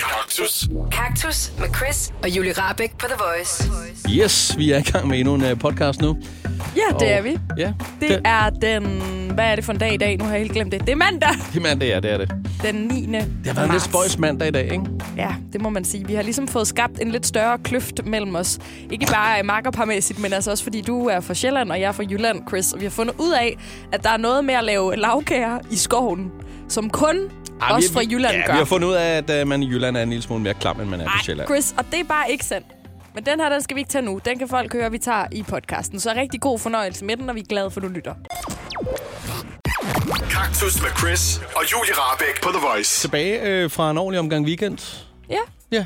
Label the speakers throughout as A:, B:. A: Kaktus.
B: Kaktus med Chris og Julie Rabeck på The Voice.
C: Yes, vi er i gang med endnu en øh, podcast nu.
D: Ja, det
C: Og-
D: er vi.
C: Ja, det,
D: Det er den... Hvad er det for en dag i dag? Nu har jeg helt glemt det. Det er mandag,
C: det er mandag, ja, det er det.
D: den 9.
C: Det har været en lidt spøjs mandag i dag, ikke?
D: Ja, det må man sige. Vi har ligesom fået skabt en lidt større kløft mellem os. Ikke bare øh, makkerparmæssigt, men altså også fordi du er fra Sjælland, og jeg er fra Jylland, Chris. Og vi har fundet ud af, at der er noget med at lave lavkager i skoven, som kun Ej,
C: vi-
D: os fra Jylland
C: ja,
D: gør.
C: vi har fundet ud af, at øh, man i Jylland er en lille smule mere klam, end man er på
D: Nej,
C: Sjælland.
D: Chris, og det er bare ikke sandt. Men den her, den skal vi ikke tage nu. Den kan folk høre, vi tager i podcasten. Så rigtig god fornøjelse med den, og vi er glade for, at du lytter.
A: Kaktus med Chris og Julie Rabeck på The Voice.
C: Tilbage øh, fra en ordentlig omgang weekend.
D: Ja,
C: Ja.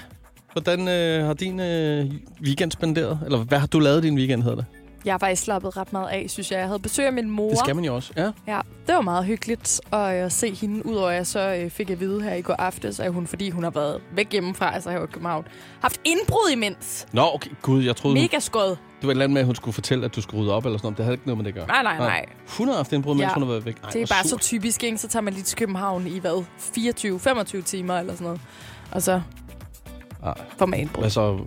C: Hvordan øh, har din øh, weekend spenderet? Eller hvad har du lavet din weekend, hedder det?
D: jeg har faktisk slappet ret meget af, synes jeg. Jeg havde besøg af min mor.
C: Det skal man jo også. Ja.
D: Ja, det var meget hyggeligt at, øh, se hende, udover at jeg så øh, fik at vide her i går aftes, at hun, fordi hun har været væk hjemmefra, altså her i København, haft indbrud imens.
C: Nå, okay. Gud, jeg troede,
D: Mega skød.
C: det var et eller andet med, at hun skulle fortælle, at du skulle rydde op eller sådan noget. Det havde ikke noget med det at gøre.
D: Nej, nej, nej.
C: Hun har haft indbrud, mens
D: Ja.
C: hun har været væk. Ej,
D: Det er
C: hvor
D: bare så
C: surt.
D: typisk, ikke? Så tager man lige til København i, hvad, 24-25 timer eller sådan noget. Og så
C: Ej.
D: får man indbrud.
C: Ah. Hvad så?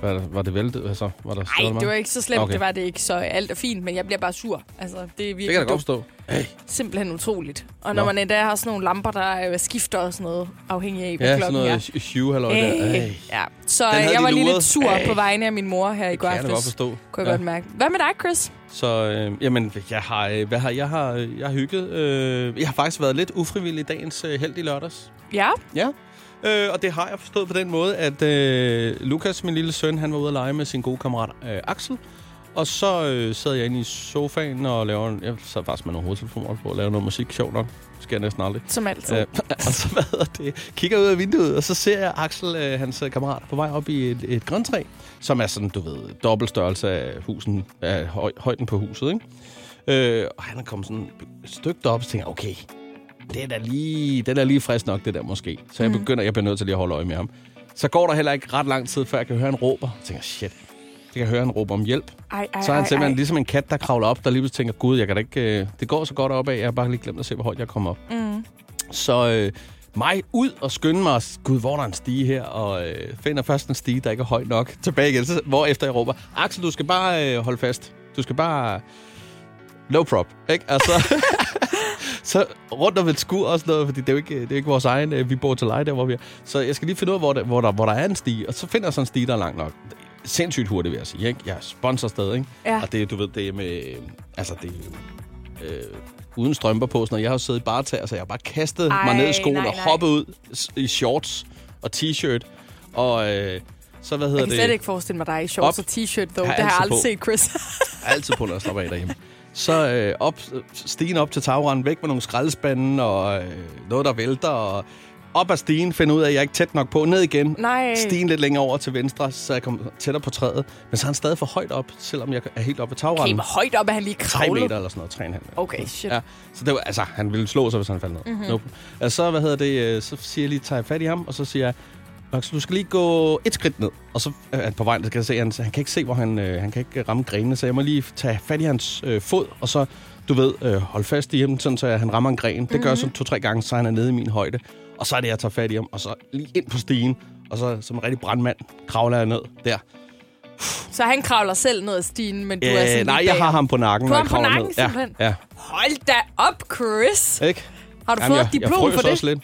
C: Hvad, var det væltet? Hvad så? Var der
D: Nej, det var ikke så slemt.
C: Okay.
D: Okay. Det var det ikke så alt er fint, men jeg bliver bare sur. Altså, det er virkelig
C: Det kan jeg da godt
D: dumt.
C: forstå. Hey.
D: simpelthen utroligt. Og når
C: Nå.
D: Nå. man endda har sådan nogle lamper, der øh, skifter og sådan noget, afhængig af, hvad
C: Ja, sådan
D: klokken er.
C: noget hue-halløj der. Ej.
D: Øh, ja. Så
C: Den havde
D: jeg
C: de
D: var lige
C: luret.
D: lidt sur
C: Ej.
D: på vegne af min mor her i går
C: Kan jeg da godt
D: aftes.
C: forstå.
D: Kunne jeg ja. godt mærke. Hvad med dig, Chris?
C: Så øh, jamen, jeg har, øh, hvad har, jeg har, øh, jeg har hygget. Øh, jeg har faktisk været lidt ufrivillig i dagens øh, held i lørdags.
D: Ja,
C: Ja. Øh, og det har jeg forstået på den måde, at øh, Lukas, min lille søn, han var ude at lege med sin gode kammerat øh, Axel. Og så øh, sad jeg inde i sofaen og lavede... en- Jeg sad faktisk med nogle hovedtelefoner på og lavede noget musik. Sjovt nok. Det sker næsten aldrig.
D: som altid.
C: Øh, og så hvad hedder det? Kigger ud af vinduet, og så ser jeg Axel, øh, hans øh, kammerat, på vej op i et, et grøntræ, som er sådan, du ved, dobbelt størrelse af, husen, af høj, højden på huset, ikke? Øh, og han er kommet sådan et stykke op, og tænker, jeg, okay, det er da lige, det er da lige frisk nok, det der måske. Så
D: Mm.
C: jeg begynder, jeg bliver nødt til lige at holde øje med ham. Så går der heller ikke ret lang tid, før jeg kan høre, han råber. Jeg tænker, shit, jeg kan høre, han råber om hjælp.
D: Ej, ej,
C: Så er han
D: ej,
C: simpelthen
D: ej.
C: ligesom en kat, der kravler op, der lige pludselig tænker, gud, jeg kan da ikke, øh, det går så godt opad, jeg har bare lige glemt at se, hvor højt jeg kommer op. Mm. Så øh, mig ud og skynde mig, gud, hvor er der en stige her, og øh, finder først en stige, der ikke er høj nok, tilbage igen, så, hvorefter jeg råber, Axel, du skal bare øh, holde fast, du skal bare, no prop, ikke? Altså, så rundt om et skur og sådan noget, fordi det er jo ikke, det er jo ikke vores egen, øh, vi bor til leje der, hvor vi er. Så jeg skal lige finde ud af, hvor der, hvor der, hvor der er en stige, og så finder jeg sådan en stige, der er lang nok. Sindssygt hurtigt, vil jeg sige, ikke? Jeg er sponsor stadig, ikke?
D: Ja.
C: Og det, du ved, det er med, øh, altså det er jo, øh, uden strømper på, sådan noget. Jeg har jo siddet i bartager, så jeg har bare kastet Ej,
D: Ej,
C: mig ned i skoen
D: nej,
C: og
D: nej.
C: hoppet ud s- i shorts og t-shirt, og øh, så hvad hedder
D: Jeg kan
C: det?
D: slet ikke forestille mig dig i shorts
C: Op.
D: og t-shirt, dog.
C: Jeg har
D: Det har jeg
C: altid
D: aldrig
C: på.
D: set, Chris.
C: Jeg er altid på, når jeg slapper af derhjemme. Så øh, op, stigen op til tagranden, væk med nogle skraldespande og øh, noget, der vælter. Og op ad stigen, finde ud af, at jeg ikke er tæt nok på. Ned igen.
D: Nej.
C: Stigen lidt længere over til venstre, så jeg kom tættere på træet. Men så er han stadig for højt op, selvom jeg er helt oppe ved
D: Okay,
C: tagranden.
D: hvor højt op er han lige
C: 3
D: kravlet.
C: meter eller sådan noget, 3,5 meter.
D: Okay, shit. Mhm.
C: Ja, så det var, altså, han ville slå sig, hvis han faldt ned. Mm-hmm. Nope. Og så, hvad hedder det, øh, så siger jeg lige, tager jeg fat i ham, og så siger jeg, Max, du skal lige gå et skridt ned. Og så er han på vejen, så kan jeg se, at han, han kan ikke se, hvor han, øh, han kan ikke ramme grenene, så jeg må lige tage fat i hans øh, fod, og så, du ved, øh, holde fast i ham, sådan, så han rammer en gren. Det gør jeg
D: Mhm.
C: sådan to-tre gange, så han er nede i min højde. Og så er det, jeg tager fat i ham, og så lige ind på stigen, og så som en rigtig brandmand kravler jeg ned der.
D: Så han kravler selv ned ad stigen, men du er sådan
C: Øh,
D: lige
C: nej, jeg
D: bag
C: har
D: ham.
C: ham på nakken,
D: Du
C: når
D: har
C: jeg
D: ham på
C: kravler
D: nakken,
C: ned.
D: simpelthen?
C: Ja,
D: Hold da op, Chris.
C: ja. Ikke?
D: Har du fået et
C: jeg, jeg
D: diplom
C: frøs
D: for det?
C: også lidt.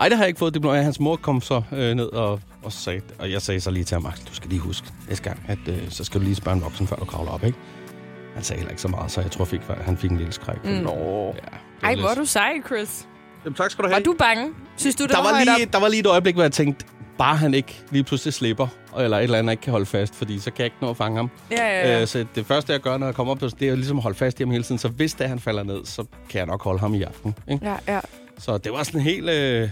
C: Ej, det har jeg ikke fået et diplom. af. Hans mor kom så øh, ned og, og sagde, og jeg sagde så lige til ham, Axel, du skal lige huske næste gang, at øh, så skal du lige spørge en voksen, før du kravler op, ikke? Han sagde heller ikke så meget, så jeg tror, fik, han fik en lille skræk. Mm. Nå. Ja, det var
D: Ej,
C: lidt-
D: hvor er du sej, Chris.
C: Jamen, tak skal du
D: Var
C: have.
D: du bange? Synes du, det
C: der,
D: var,
C: var
D: højt
C: lige,
D: op?
C: der var lige et øjeblik, hvor jeg tænkte, bare han ikke lige pludselig slipper, eller et eller andet, jeg ikke kan holde fast, fordi så kan jeg ikke nå at fange ham.
D: Ja, ja, ja.
C: Øh, så det første, jeg gør, når jeg kommer op, det er jo ligesom at holde fast i ham hele tiden, så hvis det er, han falder ned, så kan jeg nok holde ham i aften. Ikke?
D: Ja, ja.
C: Så det var sådan helt... Øh,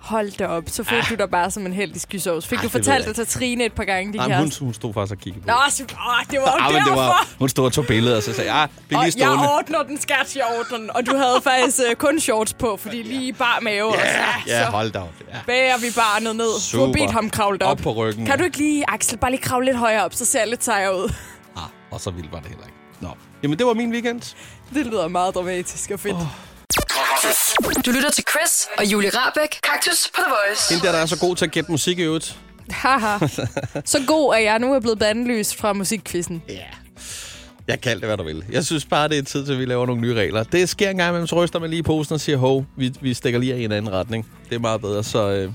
D: Hold da op, så følte ah. du dig bare som en heldig skysovs. Fik
C: Ah,
D: ah, du
C: det ved
D: fortalt
C: jeg
D: det til Trine et par gange, din
C: nej, men hun,
D: kæreste?
C: hun stod faktisk og kiggede på
D: Nå,
C: det.
D: så, åh, det var jo
C: Ah, men
D: derfor.
C: det var, hun stod og tog billeder, og så sagde jeg, ah, bliv
D: og
C: lige stående.
D: jeg ordner den, skat, jeg ordner den. Og du havde faktisk øh, kun shorts på, fordi lige bar mave yeah. også.
C: Ja,
D: så
C: ja, hold da op. Ja.
D: bærer vi barnet ned. Du
C: Super.
D: har bedt ham kravle op.
C: Op på ryggen,
D: Kan
C: ja.
D: du ikke lige, Axel, bare lige kravle lidt højere op, så ser jeg lidt sejere ud.
C: Ah, og så vildt var det heller ikke. Nå. Jamen, det var min weekend.
D: Det lyder meget dramatisk og fedt. Oh.
A: Kaktus
B: Du lytter til Chris og Julie Rabeck. Kaktus på The Voice.
C: Hende der, der er så god til at gætte musik i øvrigt.
D: Haha. Så god er jeg nu er blevet bandlyst fra musikkvisten.
C: Ja. Jeg kan det, hvad du vil. Jeg synes bare, det er tid til, at vi laver nogle nye regler. Det sker en gang imellem, så ryster man lige i posen og siger, hov, vi, vi stikker lige af i en anden retning. Det er meget bedre, så, øh,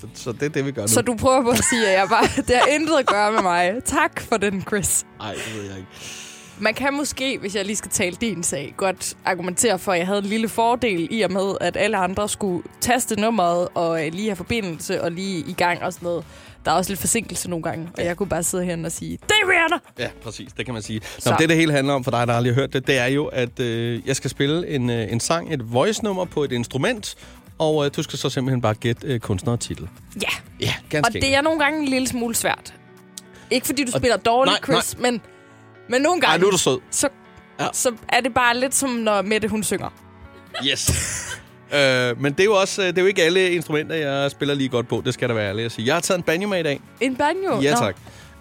C: så, så det er det, vi gør nu.
D: Så du prøver på at sige, at jeg bare, det har intet at gøre med mig. Tak for den, Chris.
C: Nej, det ved jeg ikke.
D: Man kan måske, hvis jeg lige skal tale din sag, godt argumentere for, at jeg havde en lille fordel i og med, at alle andre skulle taste nummeret og øh, lige have forbindelse og lige i gang og sådan noget. Der er også lidt forsinkelse nogle gange, og jeg kunne bare sidde herinde og sige, det er Rihanna!
C: Ja, præcis. Det kan man sige. Nå,
D: Så-
C: men det, det hele handler om for dig, der aldrig har hørt det, det er jo, at øh, jeg skal spille en, øh, en sang, et voice-nummer på et instrument, og øh, du skal så simpelthen bare gætte øh, kunstner og titel.
D: Ja,
C: Ja, ganske
D: og det er nogle gange en lille smule svært. Ikke fordi du
C: Og-
D: spiller dårligt,
C: Nej,
D: Chris, men, men nogle gange,
C: Ej, nu er du sød.
D: så,
C: Ja.
D: ja. så er det bare lidt som, når Mette hun synger.
C: Yes. øh, men det er jo også øh, det er jo ikke alle instrumenter, jeg spiller lige godt på. Det skal der være ærlig at sige. Jeg har taget en banjo med i dag.
D: En banjo?
C: ja,
D: Nå,
C: tak.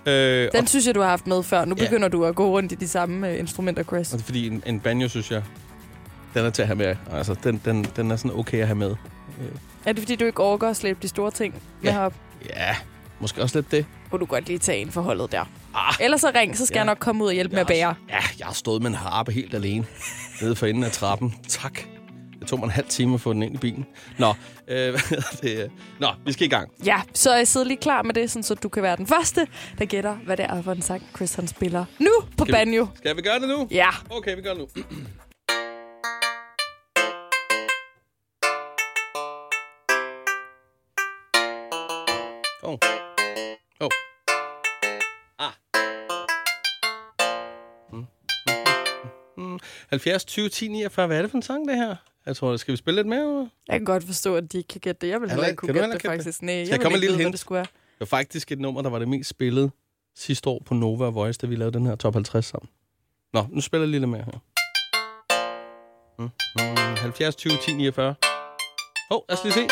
C: Øh,
D: Den synes jeg, du har haft med før. Nu
C: Ja.
D: begynder du at gå rundt i de samme øh, instrumenter, Chris.
C: og, og fordi en, en banjo, synes jeg, den er til at have med. Altså, den, den, den er sådan okay at have med.
D: Er det, fordi du ikke overgår at slæbe de store ting med
C: Ja.
D: ja. herop?
C: Ja, måske også lidt det.
D: Kunne du godt lige tage en forholdet der. Ah. Ellers så ring, så skal ja. jeg nok komme ud og hjælpe med at bære.
C: Ja, jeg har stået med en harpe helt alene nede for enden af trappen. Tak. Det tog mig en halv time at få den ind i bilen. Nå, øh, hvad hedder det, øh, nå vi skal i gang.
D: Ja, så jeg sidder lige klar med det, sådan, så du kan være den første, der gætter, hvad det er for en sang, Chris han spiller nu på
C: vi-
D: banjo.
C: Skal vi gøre det nu?
D: Ja,
C: Okay, vi gør det nu. Oh. Oh. Ah. Mm, mm, mm, mm. 70, 20, 10, 49. Hvad er det for en sang, det her? Jeg tror, skal vi spille lidt mere? eller?
D: jeg kan godt forstå, at de ikke kan gætte det. Jeg vil
C: Heller
D: heller ikke
C: ikke.
D: kunne
C: Kan du
D: gætte
C: heller
D: det,
C: ikke gætte
D: faktisk. Nej, jeg
C: Skal jeg
D: vil
C: komme
D: ikke
C: med et lille
D: vide, hvad
C: hint?
D: det skulle være.
C: Det var faktisk et nummer, der var det mest spillet sidste år på Nova og Voice, da vi lavede den her top 50 sammen. Nå, nu spiller jeg lige lidt mere her. Mm, mm, 70, 20, 10, 49. Åh, oh, lad os lige se.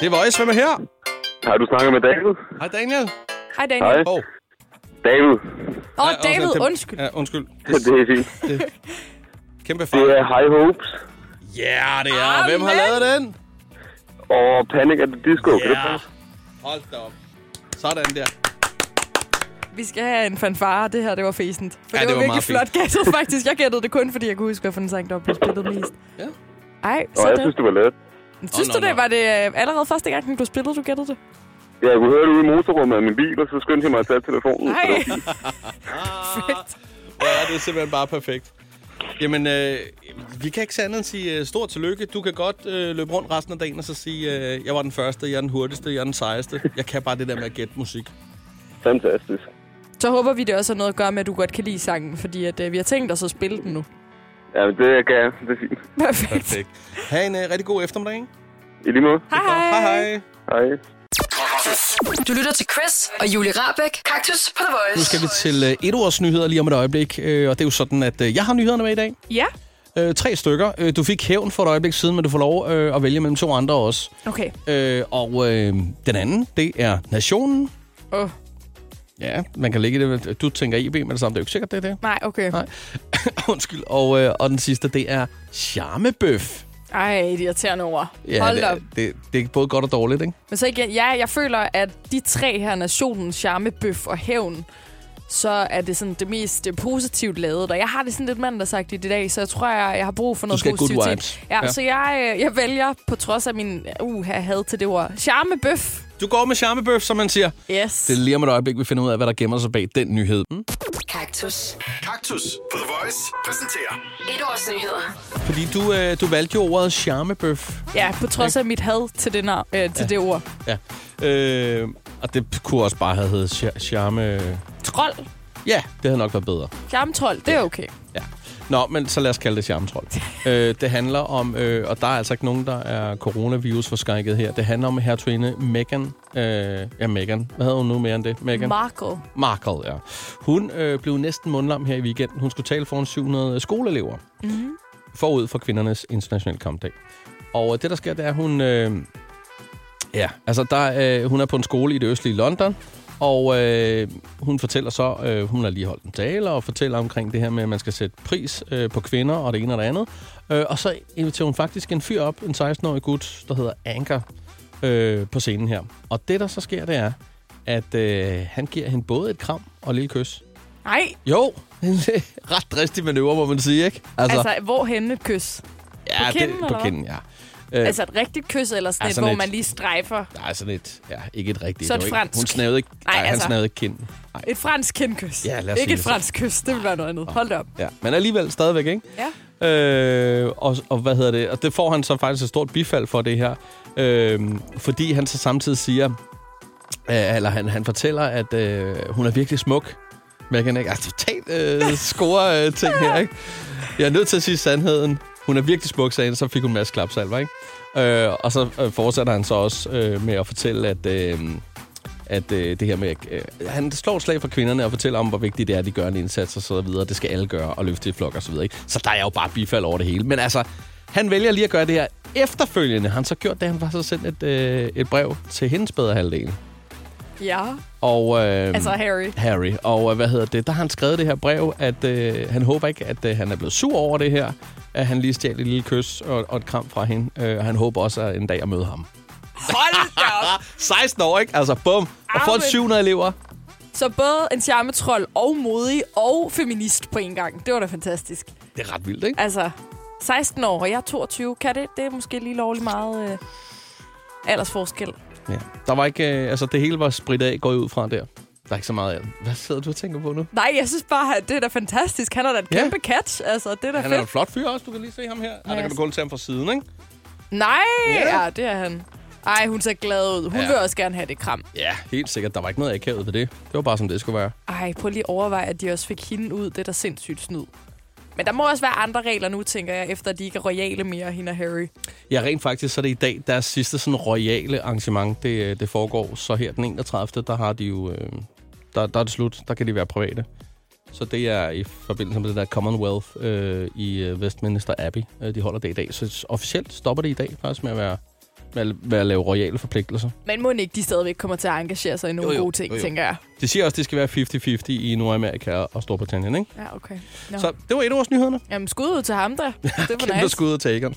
C: Det er Voice, hvem er her?
E: Har du snakket med David?
C: Hej Daniel.
D: Hej, Daniel.
E: Hej.
C: Åh, oh.
E: David,
D: Åh, oh, David, undskyld.
C: Ja, undskyld.
E: det er fint.
C: Kæmpe fejl.
E: Det
C: Ja,
E: er High Hopes
C: yeah, det er. Hvem har
D: Amen.
C: lavet den?
E: og Panic at the Disco. Kan det
C: Ja.
E: passe?
C: Hold da op. Sådan der.
D: Vi skal have en fanfare. Det her, det var fæsent. For
C: Ja,
D: ja, det,
C: det
D: var,
C: var
D: virkelig
C: meget
D: flot gættet, faktisk. Jeg gættede det kun, fordi jeg kunne huske, hvad for en sang, der blev spillet mest.
C: Ja.
D: Ej,
E: Nå, jeg
D: sådan.
E: synes, det var let.
D: Synes
C: Nå,
D: du
C: nå,
D: det?
C: nå.
D: Var det øh, allerede første gang, den blev spillet, du gættede det?
E: Ja, jeg kunne høre det ude i motorrummet af min bil, og så skyndte jeg mig at tage telefonen. så
D: Nej.
E: det var fint.
D: Perfekt.
C: Ja, det er simpelthen bare perfekt. Jamen, øh, vi kan ikke sige andet end sige øh, stort tillykke. Du kan godt øh, løbe rundt resten af dagen og så sige, øh, jeg var den første, jeg er den hurtigste, jeg er den sejeste. Jeg kan bare det der med at gætte musik.
E: Fantastisk.
D: Så håber vi, det også har noget at gøre med, at du godt kan lide sangen, fordi at, øh, vi har tænkt os at spille den nu.
E: Ja, men det kan jeg. Det er fint.
D: Perfekt.
C: Perfekt. Ha' en øh, rigtig god eftermiddag. ikke?
E: I lige måde.
D: Hej, hej.
C: Hej hej.
E: Hej.
B: Du lytter til Chris og Julie Rabeck. Kaktus på The Voice.
C: Nu skal vi til øh, et års nyheder lige om et øjeblik. Øh, og det er jo sådan, at øh, jeg har nyhederne med i dag.
D: Ja.
C: Øh, tre stykker. Øh, du fik hævn for et øjeblik siden, men du får lov øh, at vælge mellem to andre også.
D: Okay.
C: Øh, og øh, den anden, det er Nationen.
D: Åh,
C: Ja, man kan ligge i det. Du tænker IB med det samme. Det er jo ikke sikkert, det er det.
D: nej, okay.
C: Nej. Undskyld. Og, øh, og den sidste, det er charmebøf.
D: Ej, det irriterende ord. Ja, Hold
C: det,
D: op.
C: Det, det er både godt og dårligt, ikke?
D: Men så igen, ja, jeg føler, at de tre her, nationen, charmebøf og hævn, så er det sådan det mest øh, positivt lavet. Og jeg har det sådan lidt mandagsagtigt i dag, så jeg tror, jeg, jeg har brug for noget
C: skal have good
D: positivitet.
C: vibes.
D: Ja,
C: Ja.
D: ja, så jeg, øh, jeg vælger, på trods af min uh, had til det ord, charmebøf.
C: Du går med charmebøf, som man siger.
D: Yes.
C: Det er lige om et øjeblik, vi finder ud af, hvad der gemmer sig bag den nyhed. Mm?
B: Kaktus.
A: Kaktus på The Voice præsenterer
B: Et års nyheder.
C: Fordi du, øh, du valgte jo ordet charmebøf.
D: Ja, på trods af mit had til det, nav- øh, til ja. det ord.
C: Ja. Øh, og det kunne også bare have heddet char- charme...
D: Trold.
C: Ja, det havde nok været bedre.
D: Charmetrold, det er okay.
C: Ja. Nå, men så lad os kalde det charmetrol. øh, det handler om, øh, og der er altså ikke nogen, der er coronavirus forskrækket her. Det handler om hertuginde Meghan. Øh, ja, Meghan. Hvad hedder hun nu mere end det? Meghan?
D: Marco.
C: Markle, ja. Hun øh, blev næsten mundlam her i weekenden. Hun skulle tale foran 700 skoleelever. Mm-hmm. Forud for kvindernes internationale kampdag. Og øh, det, der sker, det er, at hun... Øh, ja, altså, der, øh, hun er på en skole i det østlige London. Og øh, hun fortæller så, øh, hun har lige holdt en tale og fortæller omkring det her med, at man skal sætte pris øh, på kvinder og det ene og det andet. Øh, og så inviterer hun faktisk en fyr op, en 16-årig gut, der hedder Anker, øh, på scenen her. Og det, der så sker, det er, at øh, han giver hende både et kram og et lille kys.
D: Nej,
C: Jo, ret dristig manøvre, må man sige, ikke?
D: altså, hvor henne et kys?
C: ja,
D: på kinden,
C: det,
D: eller
C: på
D: hvad?
C: kinden, ja. Øh,
D: Altså et rigtigt kys, eller sådan
C: Ja,
D: et,
C: sådan
D: hvor
C: et-
D: man lige strejfer.
C: der er sådan et, ja, ikke et rigtigt.
D: Så et
C: det var ikke-
D: fransk.
C: Hun snavede ikke, nej,
D: Nej,
C: nej, han
D: altså.
C: snavede ikke kinden. Nej,
D: Et fransk kindkys.
C: Ja, lad os sige
D: Ikke et
C: det så.
D: fransk kys, det vil være noget andet. Hold da op.
C: ja. Men alligevel stadigvæk, ikke?
D: Ja.
C: Øh, og, og hvad hedder det? Og det får han så faktisk et stort bifald for det her. Øh, fordi han så samtidig siger, øh, eller han, han fortæller, at øh, hun er virkelig smuk. Men jeg kan ikke, altså totalt øh, score øh, ting her, ikke? Jeg er nødt til at sige sandheden. Hun er virkelig smuk, sagde han, så fik hun en masse klapsalver, ikke? Øh, og så øh, fortsætter han så også øh, med at fortælle, at... Øh, at øh, det her med... Øh, han slår et slag for kvinderne og fortæller om, hvor vigtigt det er, at de gør en indsats og så videre. Det skal alle gøre og løfte i flok og så videre. Ikke? Så der er jo bare bifald over det hele. Men altså, han vælger lige at gøre det her. Efterfølgende har han så gjort det, han var så sendt et, øh, et brev til hendes bedre halvdel.
D: Ja,
C: Og, øh,
D: altså Harry.
C: Harry. Og øh, hvad hedder det? Der har han skrevet det her brev, at øh, han håber ikke, at øh, han er blevet sur over det her. At han lige stjal et lille kys og, og et kram fra hende. Øh, og han håber også at en dag at møde ham.
D: Hold da op.
C: 16 år, ikke? Altså, bum. Og får
D: Arvigt.
C: 700 elever.
D: Så både en charmetrol og modig og feminist på en gang. Det var da fantastisk.
C: Det er ret vildt, ikke?
D: Altså, 16 år, og jeg er 22. Kan det? Det er måske lige lovlig meget øh, aldersforskel.
C: Ja. Der var ikke, øh, altså det hele var spredt af, går jeg ud fra der. Der er ikke så meget af det. Hvad sidder du og tænker på nu?
D: Nej, jeg synes bare, at det er da fantastisk. Han er da et
C: Ja.
D: kæmpe catch. Altså, det er da
C: Han er jo en
D: fedt.
C: flot fyr også, du kan lige se ham her. Ja, der kan du
D: altså-
C: kun tage ham fra siden, ikke?
D: Nej,
C: Ja.
D: ja. ja, det er han. Ej, hun ser glad ud. Hun
C: Ja.
D: ja. vil også gerne have det kram.
C: Ja, helt sikkert. Der var ikke noget akavet ved det. Det var bare, som det skulle være.
D: Ej, prøv lige at overveje, at de også fik hende ud. Det er da sindssygt snyd. Men der må også være andre regler nu, tænker jeg, efter at de ikke er royale mere, hende og Harry.
C: Ja, rent faktisk, så er det i dag deres sidste sådan royale arrangement, det, øh, det foregår. Så her den 31. der har de jo, øh, der, der er det slut. Der kan de være private. Så det er i forbindelse med det der Commonwealth øh, i øh, Westminster Abbey, øh, de holder det i dag. Så s- officielt stopper det i dag faktisk med at være med at, med at lave royale forpligtelser.
D: Men må ikke de stadigvæk kommer til at engagere sig i nogle
C: Jo, jo.
D: jo, jo. gode ting,
C: Jo,
D: jo,
C: jo.
D: jo. tænker jeg.
C: De siger også, at det skal være 50-50 i Nordamerika og Storbritannien, ikke?
D: Ja, okay. No.
C: Ja. Så det var et af vores nyhederne.
D: Jamen, skud ud til ham da. Det var
C: Kæmpe
D: nice.
C: skud til Egon.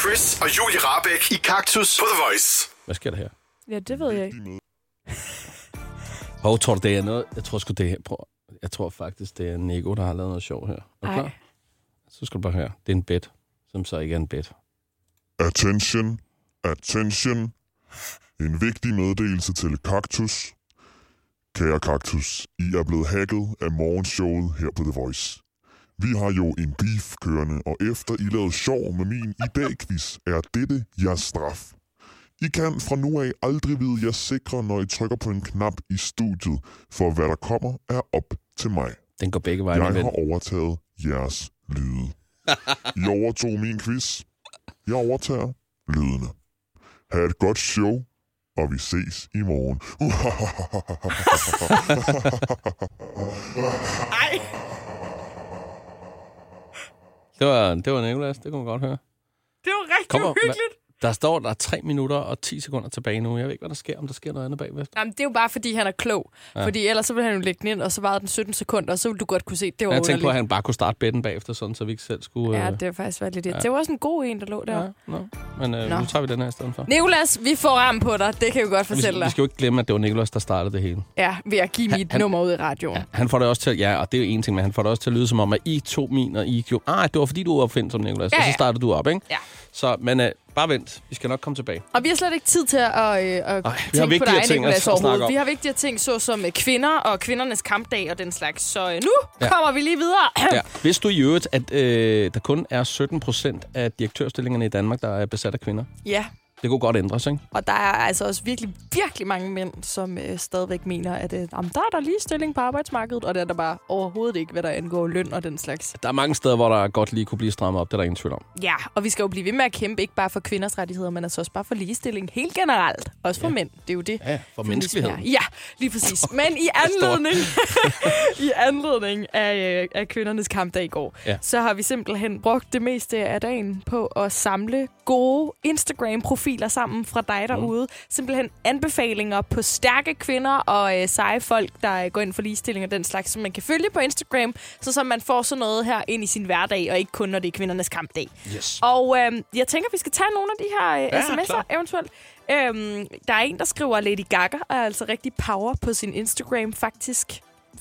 A: Chris og Julie Rabeck i Kaktus på The Voice.
C: Hvad sker der her?
D: Ja, det ved jeg ikke.
C: Hov, tror du, det er noget? Jeg tror sgu, det er... Prøv. Jeg tror faktisk, det er Nico, der har lavet noget sjov her. Er du
D: Ej.
C: klar? Så skal du bare høre. Det er en bed, som så ikke er en bed.
F: Attention, attention. En vigtig meddelelse til Kaktus. Kære Kaktus, I er blevet hacket af morgenshowet her på The Voice. Vi har jo en beef kørende, og efter I lavede sjov med min i dag quiz, er dette jeres straf. I kan fra nu af aldrig vide jer sikre, når I trykker på en knap i studiet, for hvad der kommer er op til mig.
C: Den går begge veje, min
F: Jeg
C: ven.
F: har overtaget jeres lyde. I overtog min quiz. Jeg overtager lydene. Ha' et godt show, og vi ses i morgen.
C: Det var, det var Nicolas, det kunne man godt høre.
D: Det var rigtig
C: Kom op,
D: uhyggeligt.
C: Der står, der er 3 minutter og 10 sekunder tilbage nu. Jeg ved ikke, hvad der sker, om der sker noget andet bagved.
D: Jamen, det er jo bare, fordi han er klog. Ja. Fordi ellers så ville han jo lægge den ind, og så varede den 17 sekunder, og så ville du godt kunne se, det var
C: Jeg tænkte på, at
D: underligt.
C: han bare kunne starte bedden bagefter, sådan, så vi ikke selv skulle...
D: Ja,
C: øh,
D: det var faktisk været lidt ja. Det var også en god en, der lå der. Ja.
C: ja, no. Men øh,
D: Nå.
C: nu tager vi den her i stedet for.
D: Nicolas, vi får ram på dig. Det kan vi godt
C: Vi,
D: fortælle
C: vi
D: dig.
C: skal jo ikke glemme, at det var Nicolas, der startede det hele.
D: Ja, ved at give mit
C: han-
D: nummer ud i radioen. Ja.
C: Han får det også til, ja, og det er jo en ting, men han får det også til at lyde som om, at I to min og I gjorde... Ah, det var fordi, du var opfindsom, Nicolas, ja,
D: Ja,
C: og så
D: ja.
C: startede du op, ikke?
D: Ja.
C: Så, men øh, bare vent. Vi skal nok komme tilbage.
D: Og vi har slet ikke tid til at, øh, at tænke på
C: vigtigere
D: dig,
C: ting at- at
D: Nicolas,
C: snakke
D: overhovedet.
C: om.
D: Vi har vigtigere ting, såsom øh, kvinder og kvindernes kampdag og den slags. Så øh, nu
C: Ja.
D: ja. kommer vi lige videre.
C: Ja. Vidste du i øvrigt, at øh, der kun er 17 procent af direktørstillingerne i Danmark, der er besat af kvinder?
D: ja,
C: Det kunne godt ændres, ikke?
D: Og der er altså også virkelig, virkelig mange mænd, som øh, stadigvæk mener, at øh, jamen, der er der ligestilling på arbejdsmarkedet, og det er der bare overhovedet ikke, hvad der angår løn og den slags.
C: Der er mange steder, hvor der godt lige kunne blive strammet op. Det er der ingen tvivl om.
D: Ja, og vi skal jo blive ved med at kæmpe, ikke bare for kvinders rettigheder, men altså også bare for ligestilling helt generelt. Også for ja. mænd, det er jo det.
C: Ja, for
D: feminisme
C: menneskelighed.
D: er. Ja, lige præcis. Men i anledning, i anledning af, øh, af kvindernes kampdag i går,
C: Ja.
D: ja. så har vi simpelthen brugt det meste af dagen på at samle gode Instagram-profiler biler sammen fra dig derude. Simpelthen anbefalinger på stærke kvinder og øh, seje folk, der øh, går ind for ligestilling og den slags, som man kan følge på Instagram, så, så man får sådan noget her ind i sin hverdag, og ikke kun, når det er kvindernes kampdag.
C: Yes.
D: Og øh, jeg tænker, vi skal tage nogle af de her øh,
C: Ja,
D: ja, sms'er
C: klar.
D: eventuelt. Øhm, der er en, der skriver, at Lady Gaga er altså rigtig power på sin Instagram, faktisk.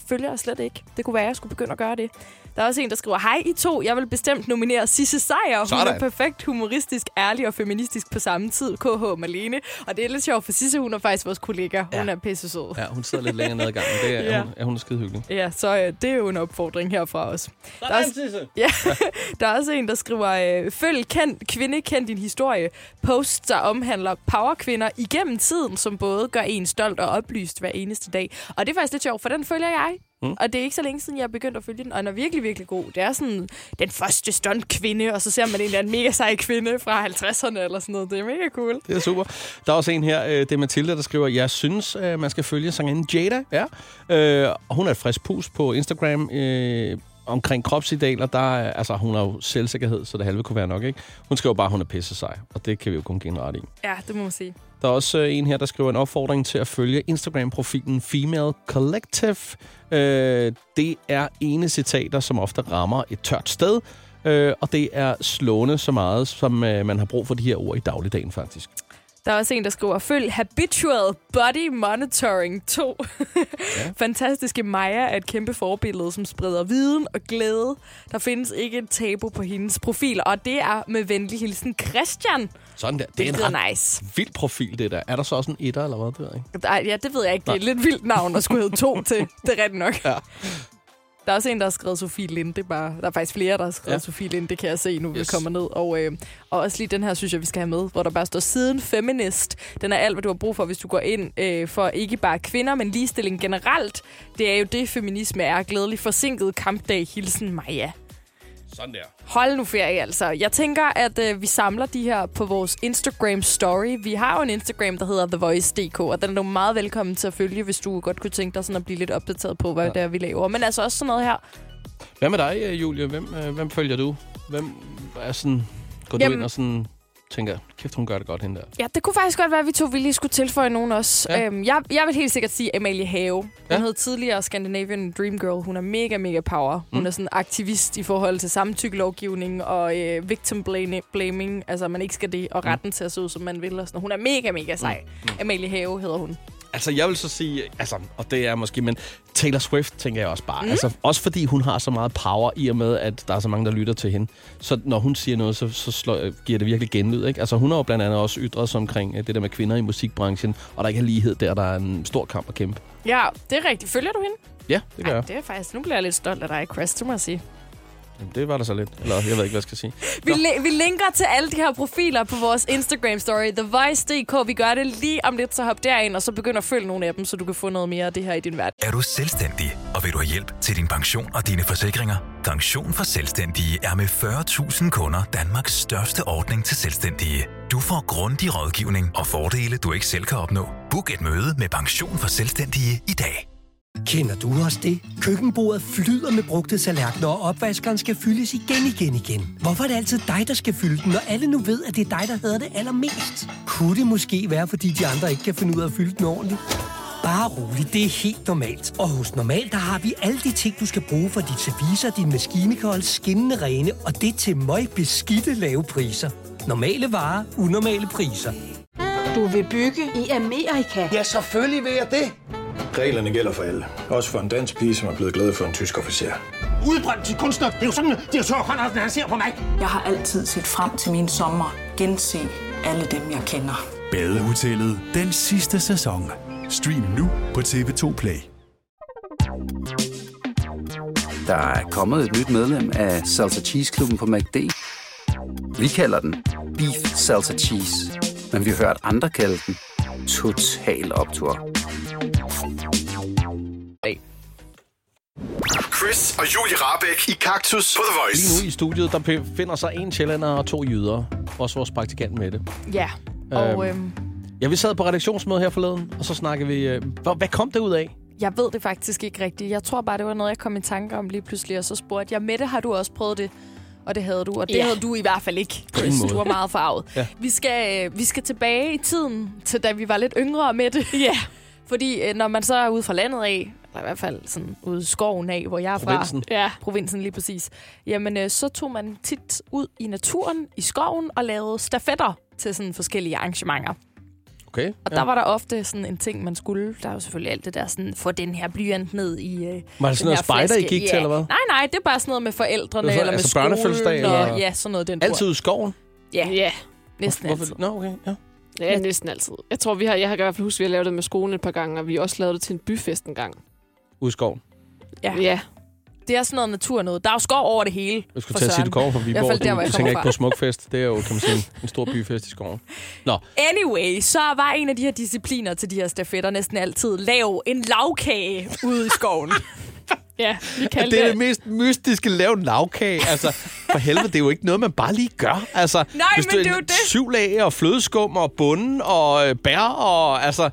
D: Følger jeg slet ikke. Det kunne være, at jeg skulle begynde at gøre det. Der er også en, der skriver, hej I to, jeg vil bestemt nominere Sisse Seier. Hun
C: Sådan.
D: er perfekt humoristisk, ærlig og feministisk på samme tid, KH Malene. Og det er lidt sjovt, for Sisse hun er faktisk vores kollega. Hun
C: Ja.
D: ja. er pisse sød.
C: Ja, hun sidder lidt længere nede ad gangen. Det er, ja.
D: Ja.
C: hun, ja, hun er skide hyggelig.
D: Ja, så øh, det er jo en opfordring herfra også. Der er, også, ja, der er også en, der skriver, øh, følg kend, kvinde, kend din historie. Post, der omhandler powerkvinder igennem tiden, som både gør en stolt og oplyst hver eneste dag. Og det er faktisk lidt sjovt, for den følger jeg. Mm. Og det er ikke så længe siden, jeg begyndte at følge den, og den er virkelig, virkelig god. Det er sådan den første stuntkvinde, og så ser man en eller anden mega sej kvinde fra 50'erne eller sådan noget. Det er mega cool.
C: Det er super. Der er også en her, øh, det er Mathilde, der skriver, jeg synes, øh, man skal følge sangerinden Jada. Ja. Øh, og hun er et frisk pus på Instagram øh, omkring kropsidealer. Der er, altså, hun har jo selvsikkerhed, så det halve kunne være nok. Ikke? Hun skriver bare, at hun er pisse sej, og det kan vi jo kun give en ret i.
D: Ja, det må man sige.
C: Der er også øh, en her, der skriver en opfordring til at følge Instagram-profilen Female Collective. Øh, det er ene citater, som ofte rammer et tørt sted, øh, og det er slående så meget, som øh, man har brug for de her ord i dagligdagen faktisk.
D: Der er også en, der skriver, følg Habitual Body Monitoring 2. ja. Fantastiske Maja er et kæmpe forbillede, som spreder viden og glæde. Der findes ikke et tabu på hendes profil, og det er med venlig hilsen Christian.
C: Sådan der. Det
D: Det
C: er en
D: lyder
C: ret
D: nice.
C: vild profil, det der. Er der så også en etter eller hvad? Det ved jeg ikke.
D: Ej, ja, det ved jeg ikke. Det er et lidt vildt navn at skulle hedde to til. Det er rigtigt nok.
C: Ja.
D: Der er også en, der har skrevet Sofie Linde. Bare. Der er faktisk flere, der har skrevet
C: Ja.
D: ja. Sofie Linde, det kan jeg se nu, yes. vi
C: Yes.
D: kommer ned. Og, øh, og også lige den her, synes jeg, vi skal have med, hvor der bare står siden feminist. Den er alt, hvad du har brug for, hvis du går ind øh, for ikke bare kvinder, men ligestilling generelt. Det er jo det, feminisme er. Glædelig forsinket kampdag. Hilsen, Maja.
C: Sådan der.
D: Hold nu ferie, altså. Jeg tænker, at øh, vi samler de her på vores Instagram story. Vi har jo en Instagram, der hedder TheVoice.dk, og den er du meget velkommen til at følge, hvis du godt kunne tænke dig sådan at blive lidt opdateret på, hvad ja. det er, vi laver. Men altså også sådan noget her.
C: Hvad med dig, øh, Julie? Hvem, øh, hvem følger du? Hvem er sådan... Går Jamen.
D: Jamen-
C: du ind og sådan tænker, kæft, hun gør det godt, hende der.
D: Ja, det kunne faktisk godt være, at vi to vi lige skulle tilføje nogen også.
C: Ja.
D: Ja. Øhm, jeg, jeg vil helt sikkert sige Amalie Have. Hun
C: Ja.
D: ja. hed tidligere Scandinavian Dream Girl. Hun er mega, mega power. Hun mm. er sådan aktivist i forhold til samtykkelovgivning og øh, victim blame- blaming. Altså, man ikke skal det. Og retten til at se ud, som man vil. Og sådan. noget. Hun er mega, mega sej. Mm. Amalie Have hedder hun.
C: Altså, jeg vil så sige, altså, og det er måske, men Taylor Swift tænker jeg også bare. Mm. Altså, også fordi hun har så meget power i og med, at der er så mange, der lytter til hende. Så når hun siger noget, så, så slår, øh, giver det virkelig genlyd, ikke? Altså, hun har jo blandt andet også ytret sig omkring øh, det der med kvinder i musikbranchen, og der ikke er lighed der, der er en stor kamp at kæmpe.
D: Ja, det er rigtigt. Følger du hende?
C: Ja, det gør
D: Ej,
C: jeg.
D: det er faktisk... Nu bliver jeg lidt stolt af dig, Chris. Det må jeg sige.
C: Jamen, det var der så lidt. Eller, jeg ved ikke, hvad jeg skal sige.
D: Vi, li- vi linker til alle de her profiler på vores Instagram-story, TheVoice.dk. Vi gør det lige om lidt, så hop derind, og så begynder at følge nogle af dem, så du kan få noget mere af det her i din hverdag.
G: Er du selvstændig, og vil du have hjælp til din pension og dine forsikringer? Pension for Selvstændige er med 40.000 kunder Danmarks største ordning til selvstændige. Du får grundig rådgivning og fordele, du ikke selv kan opnå. Book et møde med Pension for Selvstændige i dag.
H: Kender du også det? Køkkenbordet flyder med brugte tallerkener, og opvaskeren skal fyldes igen, igen, igen. Hvorfor er det altid dig, der skal fylde den, når alle nu ved, at det er dig, der hader det allermest? Kunne det måske være, fordi de andre ikke kan finde ud af at fylde den ordentligt? Bare rolig, det er helt normalt. Og hos Normal, der har vi alle de ting, du skal bruge for dit service og din maskine kan holde skinnende rene, og det til møg beskidte lave priser. Normale varer, unormale priser.
I: Du vil bygge i Amerika?
J: Ja, selvfølgelig vil jeg det.
K: Reglerne gælder for alle. Også for en dansk pige, som er blevet glad for en tysk officer.
J: Udbrøndt til kunstner. Det er jo sådan, at de har Conradsen, han ser på mig.
I: Jeg har altid set frem til min sommer. Gense alle dem, jeg kender.
G: Badehotellet den sidste sæson. Stream nu på TV2 Play.
K: Der er kommet et nyt medlem af Salsa Cheese Klubben på MACD. Vi kalder den Beef Salsa Cheese. Men vi har hørt andre kalde den Total Optor.
A: Chris og Julie Rabeck i Kaktus på The Voice.
C: Lige nu i studiet, der p- finder sig en sjællander og to jyder. Også vores praktikant med det.
D: Ja, og øhm,
C: Ja, vi sad på redaktionsmøde her forleden, og så snakkede vi... Øh, hvor- hvad kom det ud af?
D: jeg ved det faktisk ikke rigtigt. Jeg tror bare, det var noget, jeg kom i tanke om lige pludselig, og så spurgte jeg, Mette, har du også prøvet det? og det havde du, og det
L: Ja.
D: havde du i hvert fald ikke,
L: På ingen
D: Chris.
L: måde.
D: Du var meget farvet.
L: Ja.
D: Vi, skal, øh, vi skal tilbage i tiden, til da vi var lidt yngre med det. Ja. Fordi øh, når man så er ude fra landet af, eller i hvert fald sådan ude i skoven af, hvor jeg er
L: Provinsen.
D: fra. Ja. Provinsen lige præcis. Jamen, øh, så tog man tit ud i naturen, i skoven, og lavede stafetter til sådan forskellige arrangementer.
C: Okay.
D: Og ja. der var der ofte sådan en ting, man skulle. Der er jo selvfølgelig alt det der sådan, få den her blyant ned i øh,
C: Var det sådan
D: den her
C: noget spejder, I
D: flaske.
C: gik til, eller hvad?
D: Nej, nej, det er bare sådan noget med
C: Det
D: forældrene,
C: var sådan-
D: eller med
C: altså
D: skolen.
C: børnefødselsdag,
D: og,
C: eller-
D: ja, sådan noget. i Den dur.
C: Altid ud i skoven?
D: Ja.
L: ja.
D: Næsten
C: Hvorfor-
D: altid.
C: Nå, okay, ja.
L: Ja, næsten altid. Jeg tror, vi har, jeg har i hvert fald husket, at vi har lavet det med skolen et par gange, og vi har også lavet det til en byfest en gang.
C: Ud i skoven.
D: Ja. ja. Det er sådan noget natur noget. Der er jo skov over det hele.
C: Jeg skulle
D: for
C: til at sige,
D: søren.
C: du kommer fra
D: I hvert fald
C: Viborg.
D: der, hvor
C: Du,
D: jeg
C: du tænker
D: kommer
C: ikke på
D: fra.
C: smukfest. Det er jo, kan man sige, en- en stor byfest i skoven. Nå,
D: Anyway, så var en af de her discipliner til de her stafetter næsten altid lav en lavkage ude i skoven.
L: ja, vi
C: at det er det mest mystiske lave en lavkage. Altså, for helvede, det er jo ikke noget, man bare lige gør. Altså,
D: Nej,
C: hvis
D: men
C: du
D: det er jo det.
C: Syv lag og flødeskum og bunden og øh, bær og altså...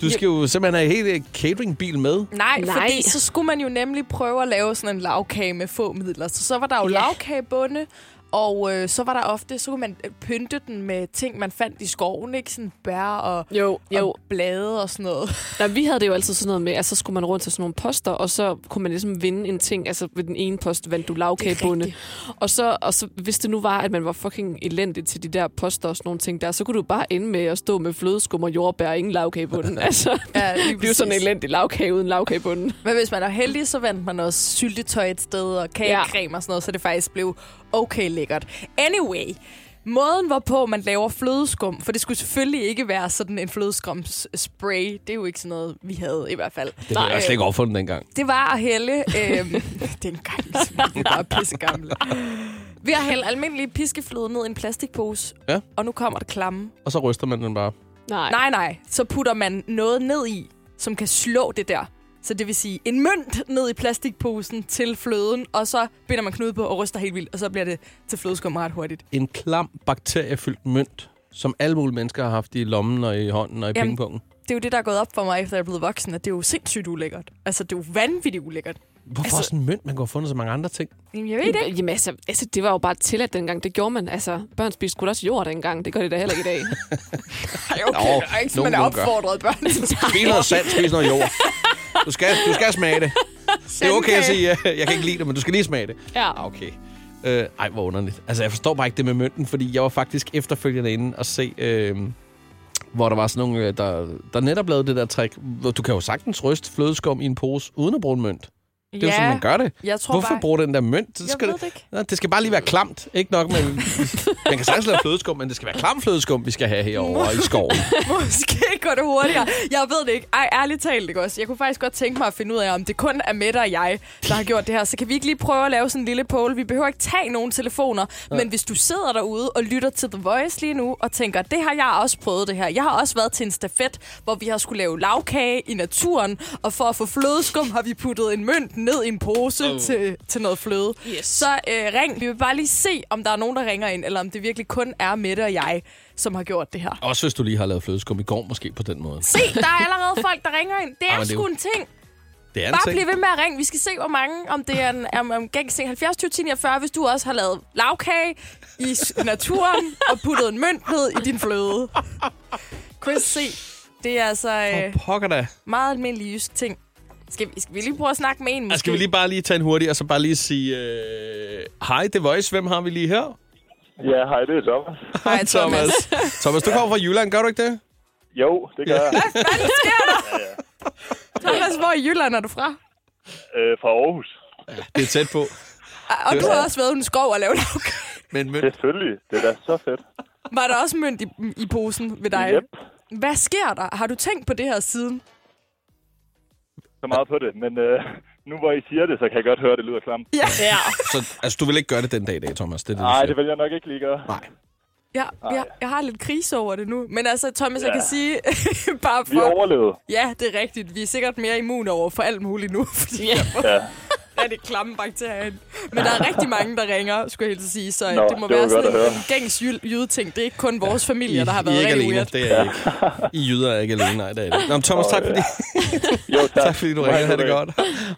C: Du skal jo simpelthen have en hel øh, cateringbil med.
D: Nej, Nej, fordi så skulle man jo nemlig prøve at lave sådan en lavkage med få midler. Så så var der jo ja. lavkagebunde, og øh, så var der ofte, så kunne man øh, pynte den med ting, man fandt i skoven, ikke? Sådan bær og,
L: jo, jo.
D: og blade og sådan noget.
L: Nå, vi havde det jo altid sådan noget med, at så skulle man rundt til sådan nogle poster, og så kunne man ligesom vinde en ting. Altså ved den ene post vandt du lavkagebunde. Og så, og så, hvis det nu var, at man var fucking elendig til de der poster og sådan nogle ting der, så kunne du bare ende med at stå med flødeskum og jordbær og ingen lavkagebunde. altså,
D: Ja, lige
L: det blev sådan en
D: præcis.
L: elendig lavkage uden lavkagebunden.
D: Men hvis man er heldig, så vandt man også syltetøj et sted og kagecreme ja. og sådan noget, så det faktisk blev okay lækkert. Anyway, måden hvorpå man laver flødeskum, for det skulle selvfølgelig ikke være sådan en flødeskumsspray. Det er jo ikke sådan noget, vi havde i hvert fald.
C: Det var jeg slet ikke opfundet dengang.
D: Det var at hælde... Øh, dengang, som vi var pissegamle. Ved at hælde almindelig piskefløde ned i en plastikpose,
C: Ja.
D: og nu kommer det klamme.
C: Og så ryster man den bare.
L: Nej.
D: nej, nej. Så putter man noget ned i, som kan slå det der. Så det vil sige en mønt ned i plastikposen til fløden, og så binder man knude på og ryster helt vildt, og så bliver det til flødeskum ret hurtigt.
C: En klam, bakteriefyldt mønt, som alle mulige mennesker har haft i lommen og i hånden og i
D: Jamen,
C: pengepunkten.
D: Det er jo det, der er gået op for mig, efter jeg er blevet voksen, at det er jo sindssygt ulækkert. Altså, det er jo vanvittigt ulækkert.
C: Hvorfor
D: altså-
C: altså, sådan en mønt? Man kunne have fundet så mange andre ting.
D: Jamen, jeg ved det ikke.
L: Jamen altså, altså, det var jo bare tilladt dengang. Det gjorde man. Altså, børn spiste sgu da også jord dengang. Det gør de da heller ikke i dag.
C: okay, Nå, der er ikke sådan, man er nogen gør. opfordret
D: børn.
C: Spis noget sand, spis noget jord. Du skal, du skal smage det. Det er okay at sige, ja. jeg kan ikke lide det, men du skal lige smage det. Ah,
L: Ja.
C: Okay. Øh, ej, hvor underligt. Altså, jeg forstår bare ikke det med mønten, fordi jeg var faktisk efterfølgende inde og se, øh, hvor der var sådan nogle, øh, der, der netop lavede det der trick. hvor Du kan jo sagtens ryste flødeskum i en pose, uden at bruge en mønt. Det er jo
D: Ja,
C: sådan, man gør det.
D: jeg tror
C: Hvorfor
D: bare-
C: bruge den der mønt?
D: Jeg ved det ikke.
C: Nå, det skal bare lige være klamt. Ikke nok, men man kan sagtens lave flødeskum, men det skal være klam flødeskum, vi skal have herovre i skoven.
D: Måske går det hurtigere. Jeg ved det ikke. Ej, ærligt talt, ikke også? Jeg kunne faktisk godt tænke mig at finde ud af, om det kun er Mette og jeg, der har gjort det her. Så kan vi ikke lige prøve at lave sådan en lille poll? Vi behøver ikke tage nogen telefoner. Ja. Men hvis du sidder derude og lytter til The Voice lige nu og tænker, det har jeg også prøvet det her. Jeg har også været til en stafet, hvor vi har skulle lave lavkage i naturen. Og for at få flødeskum har vi puttet en mønt ned i en pose
L: Oh.
D: oh. til, til noget fløde.
L: Yes.
D: Så øh, ring. Vi vil bare lige se, om der er nogen, der ringer ind, eller om det virkelig kun er Mette og jeg, som har gjort det her.
C: Også hvis du lige har lavet flødeskum i går, måske på den måde.
D: Se, der er allerede folk, der ringer ind. Det er
C: Ej, men det er
D: sgu
C: jo-
D: en ting.
C: Det er en
D: Bare
C: ting.
D: bliv ved med at ringe. Vi skal se, hvor mange, om det er en, om, om gængse 70 20 10 49, hvis du også har lavet lavkage i s- naturen og puttet en mønt ned i din fløde. Chris, se. Det er altså øh,
C: Pokker da.
D: meget almindelig jysk ting. Skal vi, skal vi lige prøve at snakke med en?
C: Og
D: Måske?
C: skal vi lige bare lige tage en hurtig, og så bare lige sige, øh, hej, The Voice, hvem har vi lige her?
M: Ja, hej, det er Thomas.
C: Hej, Thomas. Thomas, du kommer fra Jylland, gør du ikke det?
M: Jo, det gør jeg.
D: Thomas, hvor i Jylland er du fra?
M: Øh, fra Aarhus.
C: Det er tæt på.
D: Og
M: Det
D: du
M: var-
D: har også været ude i en skov og lavet lavkage.
C: Men mønt.
M: Selvfølgelig. Det er da så fedt.
D: Var der også mønt i, i posen ved dig?
M: Yep.
D: Hvad sker der? Har du tænkt på det her siden?
M: Så meget på det. Men øh, nu hvor I siger det, så kan jeg godt høre, at det lyder klamt.
D: Ja. ja.
C: Så altså, du vil ikke gøre det den dag i dag, Thomas? Det er det, du
M: Nej,
C: siger.
M: det vil jeg nok ikke lige gøre.
C: Nej.
D: Ja, jeg, jeg har lidt krise over det nu. Men altså, Thomas, ja. jeg
M: Ja.
D: kan sige... bare for...
M: Vi overlevede.
D: Ja, det er rigtigt. Vi er sikkert mere immune over for alt muligt nu. Fordi ja.
M: Ja.
D: rigtig klamme bakterier ind. Men der er rigtig mange, der ringer, skulle jeg helt sige. Så
M: Nå,
D: Nå, det må
M: det var
D: være
M: godt
D: sådan
M: at
D: en
M: høre.
D: gængs jyd- jydeting. Det er ikke kun vores familie, der har
C: I
D: været
C: er ikke
D: rigtig
C: alene,
D: weird.
C: det er I ikke. I jyder er ikke alene, nej, det er I ikke. Nå, men Thomas, tak fordi,
M: jo, tak.
C: tak fordi du ringede. Ha' det godt.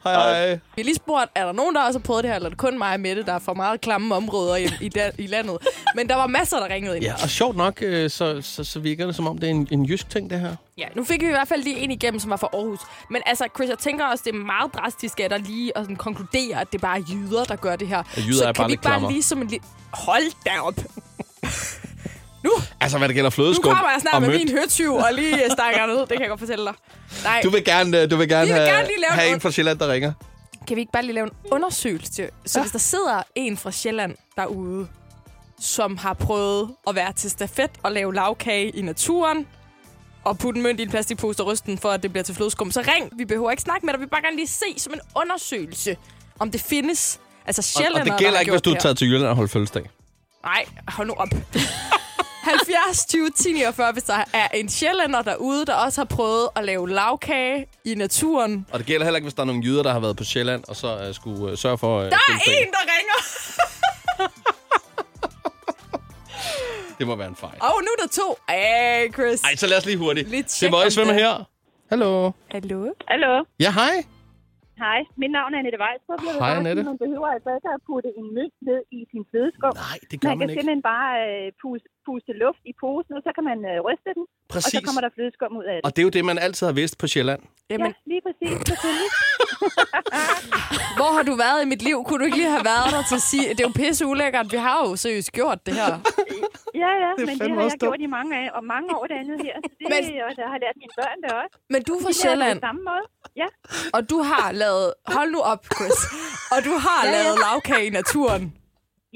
C: Hej, hej.
D: Vi har lige spurgt, er der nogen, der også har prøvet det her, eller er det kun mig og Mette, der er fra meget klamme områder i, i, da, i landet? Men der var masser, der ringede ind.
C: Ja, og sjovt nok, øh, så, så, så virker det som om, det er en, en jysk ting, det her.
D: Ja, nu fik vi i hvert fald lige en igennem, som var fra Aarhus. Men altså, Chris, jeg tænker også, det er meget drastisk af dig lige at sådan konkludere, at det bare er jyder, der gør det her.
C: Ja, jyder
D: så
C: er
D: kan
C: bare
D: vi
C: lidt
D: ikke bare
C: klammere.
D: lige som en lille... Hold da op!
C: Altså, hvad det gælder
D: Nu
C: flødeskum
D: kommer jeg snart
C: og
D: med
C: mønt.
D: min høtyv og lige øh, stakker den ud. Det kan jeg godt fortælle dig. Nej,
C: Du vil gerne, øh, du vil gerne,
D: Vi vil
C: have,
D: gerne lige lave
C: have
D: noget.
C: en fra Sjælland, der ringer.
D: kan vi ikke bare lige lave en undersøgelse? Så hvis der sidder en fra Sjælland derude, som har prøvet at være til stafet og lave lavkage i naturen, og putte en mønt i en plastikpose og rysten for, at det bliver til flødeskum, så ring. Vi behøver ikke snakke med dig. Vi vil bare gerne lige se som en undersøgelse, om det findes. Altså
C: Og,
D: Sjælland
C: og det gælder ikke, hvis du tager til Jylland og holder fødselsdag.
D: Nej, hold nu op. 70 20 10 49, hvis der er en sjællander derude, der også har prøvet at lave lavkage i naturen.
C: Og det gælder heller ikke, hvis der er nogle jyder, der har været på Sjælland, og så øh, skulle øh, sørge for... Øh,
D: Der er
C: fødselsdag.
D: Ah, en, der ringer!
C: Det må være en fejl.
D: Og nu er der to. Ej, Chris.
C: Ej, så lad os lige hurtigt.
D: Lidt
C: det
D: tjek
C: var
D: om
C: Voice, hvem er
D: det-
C: her? Hallo.
D: Hallo?
N: Hallo?
C: Ja, hej.
N: Hej, mit navn er Annette Weisbrug. Jeg vil
C: Hej,
N: bare
C: Annette.
N: Sige, man behøver altså ikke at putte en mønt ned i sin flødeskum.
C: Nej, det gør
N: man kan
C: man ikke.
N: simpelthen bare øh, puste, puste luft i posen, og så kan man øh, ryste den, og så
C: Præcis.
N: kommer der flødeskum ud af det.
C: Og det er jo det, man altid har vidst på Sjælland.
N: Jamen. Ja, lige præcis, selvfølgelig.
D: Hvor har du været i mit liv? Kunne du ikke lige have været der til at sige, det er jo pisse ulækkert. Vi har jo seriøst gjort det her.
N: Ja, ja,
D: Det er
N: men det
D: fandme
N: har
D: også
N: jeg gjort
D: dumt.
N: i mange, af, og mange år dernede her, så det,
D: Men-
N: men... og jeg har lært mine børn det også.
D: Men du er fra
N: De lærer det
D: Sjælland.
N: På samme måde. Ja,
D: Og du har lavet... Hold nu op, Chris. Og du har
N: Ja, ja.
D: lavet lavkage i naturen.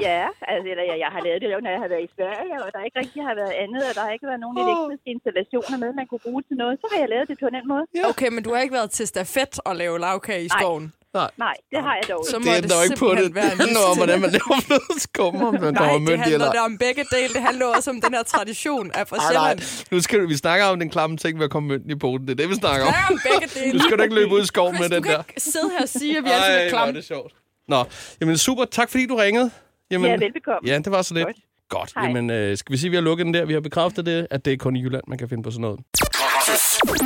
N: ja altså, eller jeg, jeg har lavet det, når jeg har været i Sverige, og der ikke rigtig har været andet, og der har ikke været nogen elektriske installationer med, man kunne bruge til noget, så har jeg lavet det på den måde.
D: Okay, men du har ikke været til stafet og lave lavkage i
N: Nej.
D: skoven.
C: Nej.
N: Nej, det har jeg dog
D: Så
N: ikke.
D: må det
C: ændrer jo ikke på
D: simpelthen
C: det.
D: være en
C: Det handler om, hvordan man laver flødeskum, om man
D: Nej,
C: kommer
D: det
C: myndig eller
D: handler da
C: ej.
D: om begge dele. Det handler også om den her tradition af fra
C: Ej, nej.
D: Sjælland.
C: Nu skal du, vi snakker om den klamme ting med at komme mynten i poten. Det er det, vi snakker om.
D: Snakker om begge dele.
C: Nu skal du ikke løbe ud i skoven
D: Chris,
C: med den
D: du kan
C: der.
D: ikke sidde her og sige, at vi
C: Ej,
D: altid er
C: hvor er
D: klamme.
C: det sjovt. Nå, jamen super. Tak fordi du ringede. Jamen,
D: Ja, velbekomme.
C: Ja, det var så lidt. Godt.
B: Hej.
C: Jamen, øh, skal vi sige, at vi har lukket den der? Vi har bekræftet det, at det er kun i Jylland, man kan finde på sådan noget.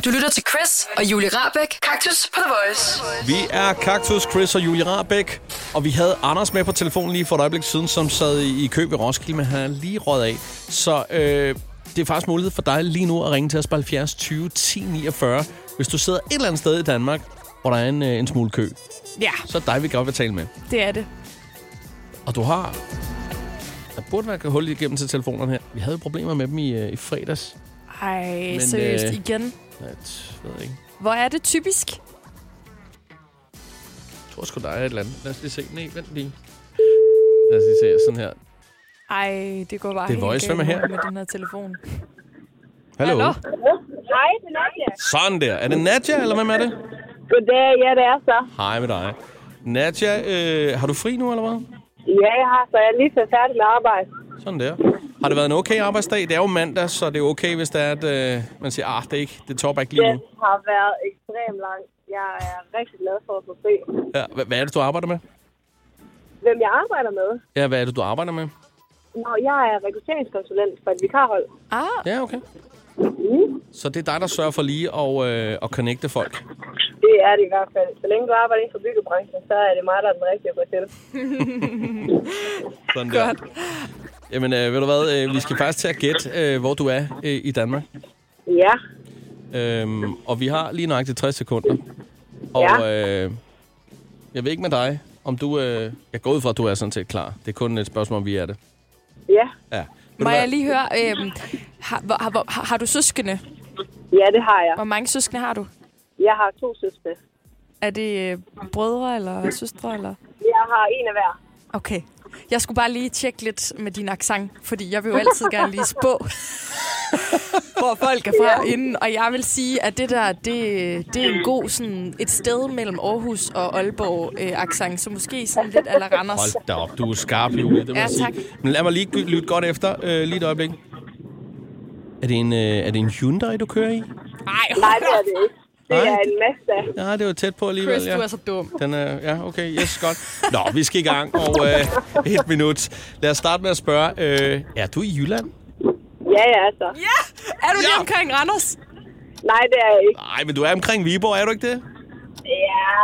B: Du lytter til Chris og Julie Rabeck. Kaktus på The Voice.
C: Vi er Kaktus, Chris og Julie Rabeck, og vi havde Anders med på telefonen lige for et øjeblik siden, som sad i i kø ved Roskilde, men han er lige røget af. Så øh, det er faktisk mulighed for dig lige nu at ringe til os på 70 20 10 49, hvis du sidder et eller andet sted i Danmark, hvor der er en, øh, en smule kø.
D: Ja,
C: Så er det dig, vi godt vil tale med.
D: det er det.
C: Og du har... Der burde være hul igennem til telefonerne her. Vi havde jo problemer med dem i, øh, i fredags.
D: Ej,
C: Men,
D: seriøst
C: øh,
D: igen.
C: Jeg t- ved ikke.
D: Hvor er det typisk?
C: Jeg tror sgu, der er et eller andet. Lad os lige se. Nej, vent lige. Lad os lige se. Sådan her.
D: Ej, det går bare
C: Det er
D: helt
C: Voice.
D: galt
C: Hvem er her?
D: med den her telefon.
C: Hallo. Hallo.
O: Hej, det er Nadia.
C: Sådan der. Er det Nadja, eller hvem er det?
O: Goddag, ja, det er så.
C: Hej med dig. Nadja, øh, har du fri nu, eller hvad?
O: Ja, jeg har, så jeg er lige så færdig med arbejde.
C: Sådan der. Har det været en okay arbejdsdag? Det er jo mandag, så det er okay, hvis det er, at øh, man siger, ah, det er ikke, det topper ikke lige
O: Den
C: nu.
O: har været ekstremt lang. Jeg er rigtig glad for at få fri.
C: Ja, hva- hvad er det, du arbejder med?
O: Hvem jeg arbejder med?
C: Ja, hvad er det, du arbejder med?
O: Nå, jeg er rekrutteringskonsulent for et vikarhold.
D: Ah.
C: Ja, okay. Så det er dig, der sørger for lige at, øh, at connecte folk.
O: Det er det i hvert fald. Så længe du arbejder inden for byggebranchen, så er det mig, der er den rigtige at gå til.
C: Sådan der. Jamen, øh, ved du hvad, øh, vi skal faktisk til at gætte, øh, hvor du er øh, i Danmark.
O: ja,
C: Øhm, og vi har lige nøjagtigt 60 sekunder. Og øh, jeg ved ikke med dig, om du... Øh, jeg går ud fra, at du er sådan set klar. Det er kun et spørgsmål, om vi er det.
O: Ja.
C: Ja.
D: Må jeg lige høre, øhm, har, hvor, har, hvor, har, har du søskende?
O: Ja, det har jeg.
D: Hvor mange søskende har du?
O: jeg har to søstre.
D: Er det øh, brødre eller søstre? Eller?
O: Jeg har en af hver.
D: Okay. Jeg skulle bare lige tjekke lidt med din accent, fordi jeg vil jo altid gerne lige spå, hvor folk er fra inden. Og jeg vil sige, at det der, det, det er en god sådan, et sted mellem Aarhus og Aalborg øh, accent, så måske sådan lidt eller Randers.
C: Hold da op, du er skarp, Julie. Det må
D: Ja,
C: jeg sige.
D: tak.
C: Men lad mig lige gy- lytte godt efter. Øh, lige et øjeblik. Er det, en, øh, er det en Hyundai, du kører i?
D: Nej,
O: Nej, det er det ikke. Det er en Mazda.
C: Ja, det var tæt på alligevel.
O: Chris,
C: ja.
O: du er så dum.
C: Den er, ja, okay, yes, godt. Nå, vi skal i gang, og øh, et minut. Lad os starte med at spørge, øh, er du i Jylland?
O: Ja, ja, altså.
D: Ja! Er du lige omkring Randers?
O: Nej, det er jeg ikke.
C: Nej, men du er omkring Viborg, er du ikke det?
O: Ja,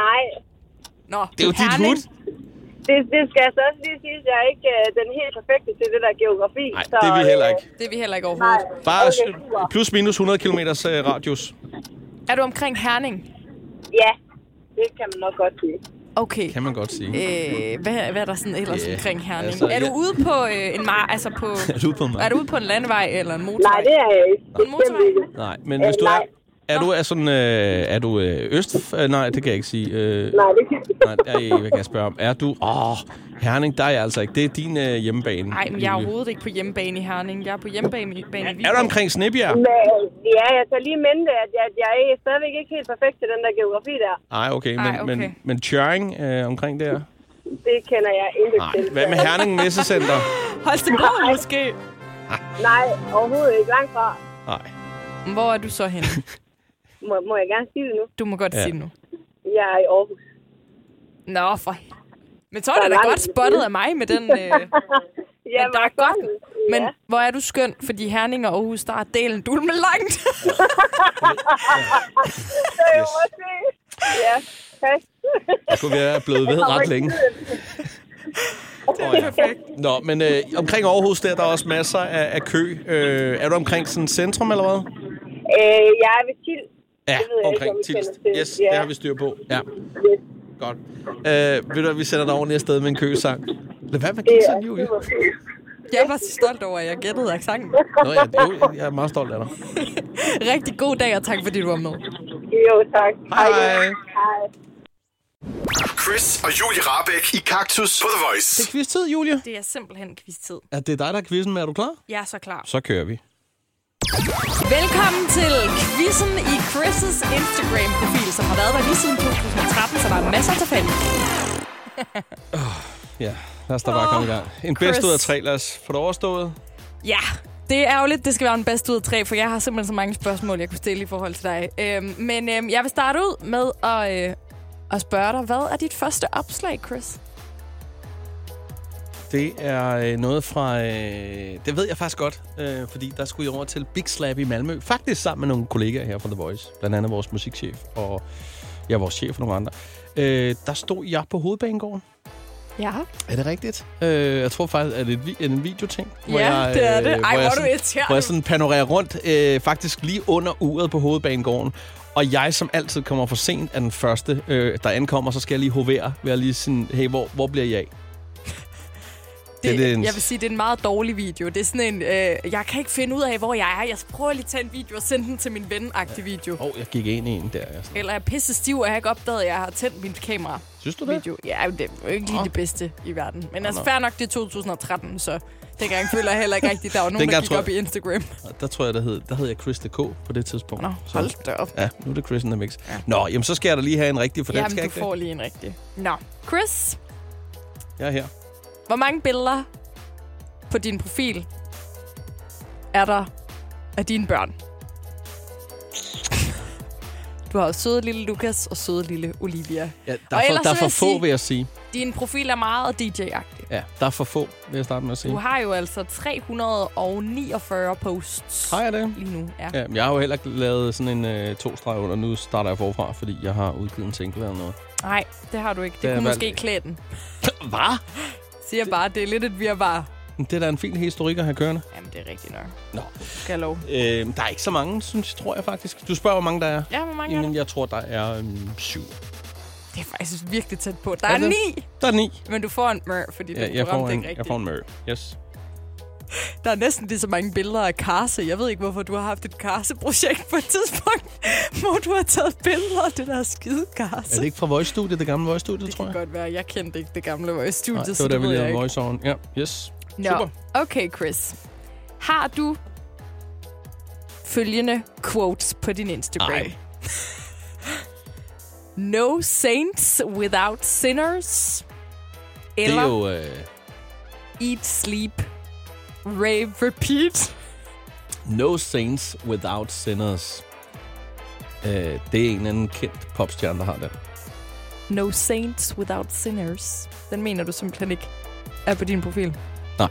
O: nej.
D: Nå,
C: Det er jo dit hud.
O: Det, det skal jeg så også lige sige, at jeg er ikke øh, den helt perfekte til det der geografi. Nej,
C: det er vi heller ikke.
D: Det er vi heller ikke
O: Nej.
D: overhovedet.
C: Bare
O: øh, Okay, super.
C: okay, plus minus 100 km radius.
D: Er du omkring Herning?
O: Ja, det kan man nok godt sige.
D: Okay.
C: Kan man godt sige.
D: Øh, hvad, hvad er der sådan ellers
C: Ja,
D: yeah, omkring Herning?
C: altså,
D: Altså, er du
C: ja.
D: ude på øh, en mar... Altså på,
C: Er du ude på en mark?
D: er du ude på en landevej eller en motorvej? Nej, det
O: er jeg ikke.
D: En motorvej?
C: Nej, men
O: Øh,
C: hvis du er... Er du er sådan... Øh, er du øh, øst... Øh, nej, det kan jeg ikke sige. Øh,
O: Nej, det kan
C: nej, ej, hvad kan jeg spørge om? Er du... Åh, Herning, der er jeg altså ikke. Det er din øh, hjemmebane.
D: Nej, men jeg er
C: Julie.
D: overhovedet ikke på hjemmebane i Herning. Jeg er på hjemmebane i bane i
C: Er du omkring Snebjerg?
O: Men, øh, ja, jeg tager lige i mente, at jeg, jeg er stadigvæk ikke helt perfekt til den der geografi der.
C: Nej, okay, men,
O: Ej, okay.
C: men, men Tjøring øh, omkring der?
O: Det kender jeg ikke
C: Nej.
O: til.
C: Hvad med Herning Messecenter?
D: Holstebro måske?
O: Nej, overhovedet ikke. Langt fra.
C: Nej.
D: Hvor er du så henne?
O: Må, må jeg gerne sige det nu?
D: Du må godt
C: Ja.
D: ja. sige det nu.
O: Jeg er i Aarhus.
D: Nå, for... Men så er det da
O: Hvor langt
D: godt
O: er det?
D: spottet af mig med den... Øh...
O: ja,
D: der er godt. Men
O: Ja.
D: hvor er du skøn, fordi Herning og Aarhus, der er delen dulme langt.
O: Så jeg må se. Ja, pas.
C: Jeg kunne være blevet ved ret længe.
O: Det
C: er perfekt. Nå, men øh, omkring Aarhus, der er der også masser af, af kø. Øh, er du omkring sådan centrum eller hvad?
O: Øh, jeg er ved Tild.
C: Ja,
O: Det ved jeg ikke,
C: omkring
O: om I
C: Tilst.
O: kender til.
C: Yes,
O: Ja.
C: det har vi styr på. Ja. Godt. Øh, ved du, hvad, vi sender dig ordentligt afsted med en køsang. Lad være med at
O: Det
C: kigge
O: er
C: sådan, Julie.
O: super fedt.
D: Jeg var så stolt over, at jeg gættede accenten.
C: Nå, ja, det er jo, jeg er meget stolt af dig.
D: Rigtig god dag, og tak fordi du var med.
O: Jo, tak.
C: Hej. Hej.
O: Hej.
A: Chris og Julie Rabeck i Kaktus på The Voice.
C: Det er quiz-tid, Julie.
D: Det er simpelthen quiz-tid.
C: Er det dig, der er quizzen med? Er du klar?
D: Jeg er så klar.
C: Så kører vi.
D: Velkommen til quizzen i Chris' Instagram-profil, som har været der lige siden 2013, så der er masser til fælde.
C: Ja, lad os da bare komme i gang. En bedst
D: Chris.
C: ud af tre, lad os få det overstået.
D: Ja, det er ærgerligt, det skal være en bedst ud af tre, for jeg har simpelthen så mange spørgsmål, jeg kunne stille i forhold til dig. Øhm, men øhm, jeg vil starte ud med at, øh, at spørge dig, hvad er dit første opslag, Chris?
C: Det er øh, noget fra... Øh, det ved jeg faktisk godt, øh, fordi der skulle jeg over til Big Slap i Malmø. Faktisk sammen med nogle kollegaer her fra The Voice. Blandt andet vores musikchef og... Ja, vores chef og nogle andre. Øh, der stod jeg på hovedbanegården.
D: Ja.
C: Er det rigtigt? Øh, jeg tror faktisk, at det er et vi- en videoting.
D: Ja, det er det. Ej,
C: hvor
D: hvor er
C: jeg
D: du
C: sådan-
D: irriterende.
C: Hvor jeg sådan panorerer rundt, øh, faktisk lige under uret på hovedbanegården. Og jeg, som altid kommer for sent, er den første, øh, der ankommer. Så skal jeg lige hovere ved at lige sådan, hey, hvor, hvor bliver jeg af?
D: Det,
C: Det er
D: det,
C: en-
D: Jeg vil sige, det er en meget dårlig video. Det er sådan en, øh, jeg kan ikke finde ud af, hvor jeg er. Jeg prøver lige at tage en video og sende den til min ven-agtig video.
C: Åh, oh, jeg gik ind i en der. Jeg sådan,
D: Eller jeg er pisse stiv, og jeg har ikke opdaget, at jeg har tændt mit kamera.
C: Synes du det?
D: Video. Ja, men det er jo ikke lige det bedste i verden. Men altså,
C: nå.
D: fair nok, det er 2013, så dengang føler jeg heller ikke rigtigt, der var nogen, der
C: Dengang
D: gik
C: tror
D: op i
C: jeg-
D: Instagram.
C: Og Der tror jeg, der hed, der hed jeg Chris DK på det tidspunkt. Nå,
D: hold da op.
C: Ja, nu er det Chris in the mix. Nå, jamen så skal jeg da lige have en rigtig, for den
D: Jamen,
C: skal
D: du
C: jeg ikke
D: får lige en rigtig. Nå, Chris,
C: Jeg er her.
D: hvor mange billeder på din profil er der af dine børn? Du har jo søde lille Lukas og søde lille Olivia.
C: Ja, der er
D: Og
C: for,
D: ellers
C: der er
D: så
C: for
D: vil
C: få,
D: jeg sige-
C: vil jeg sige.
D: Din profil er meget DJ-agtig.
C: Ja, der er for få, vil jeg starte med at sige.
D: Du har jo altså 349 posts.
C: Har jeg det?
D: Lige nu, ja.
C: Ja, men jeg har jo heller ikke lavet sådan en øh, to streg under. Nu starter jeg forfra, fordi jeg har udgivet en single eller noget.
D: Nej, det har du ikke. Det,
C: Det
D: det
C: er
D: kunne
C: valgt
D: måske
C: ikke.
D: klæde den.
C: Hvad?
D: Siger bare, det er lidt et virvar.
C: Men Det er da en fin historik at have kørende.
D: Jamen, det er rigtigt nok.
C: Nå.
D: Skal jeg lov.
C: Øh, der er ikke så mange, synes, tror jeg faktisk. Du spørger, hvor mange der er.
D: Ja, hvor mange er
C: Jamen, jeg tror, der er øhm, syv.
D: Det er faktisk virkelig tæt på. Der
C: Er
D: er,
C: det?
D: ni,
C: Der er ni.
D: men du får en mør, fordi ja,
C: Ja,
D: den
C: jeg, får
D: ramte
C: en,
D: ikke
C: jeg
D: rigtigt.
C: får en mør. Yes.
D: Der er næsten lige så mange billeder af Karse. Jeg ved ikke, hvorfor du har haft et Karse-projekt på et tidspunkt, hvor du har taget billeder af det der skide Karse.
C: Er det ikke fra Voice Studio, det gamle Voice Studio, tror jeg?
D: kan godt være. Jeg kendte ikke det gamle Voice-studie,
C: Nej, det
D: så
C: var da
D: det
C: vi
D: ved jeg
C: lavede voice
D: ikke.
C: on. Ja, yes.
D: Nå.
C: Super.
D: Okay, Chris. Har du følgende quotes på din Instagram?
C: Ej.
D: no saints without sinners.
C: Det
D: Eller
C: er jo... Øh,
D: eat, sleep, rave, repeat.
C: no saints without sinners. Øh, det er en eller anden kendt popstjerne, der har det.
D: No saints without sinners. Den mener du simpelthen ikke er på din profil.
C: Nej.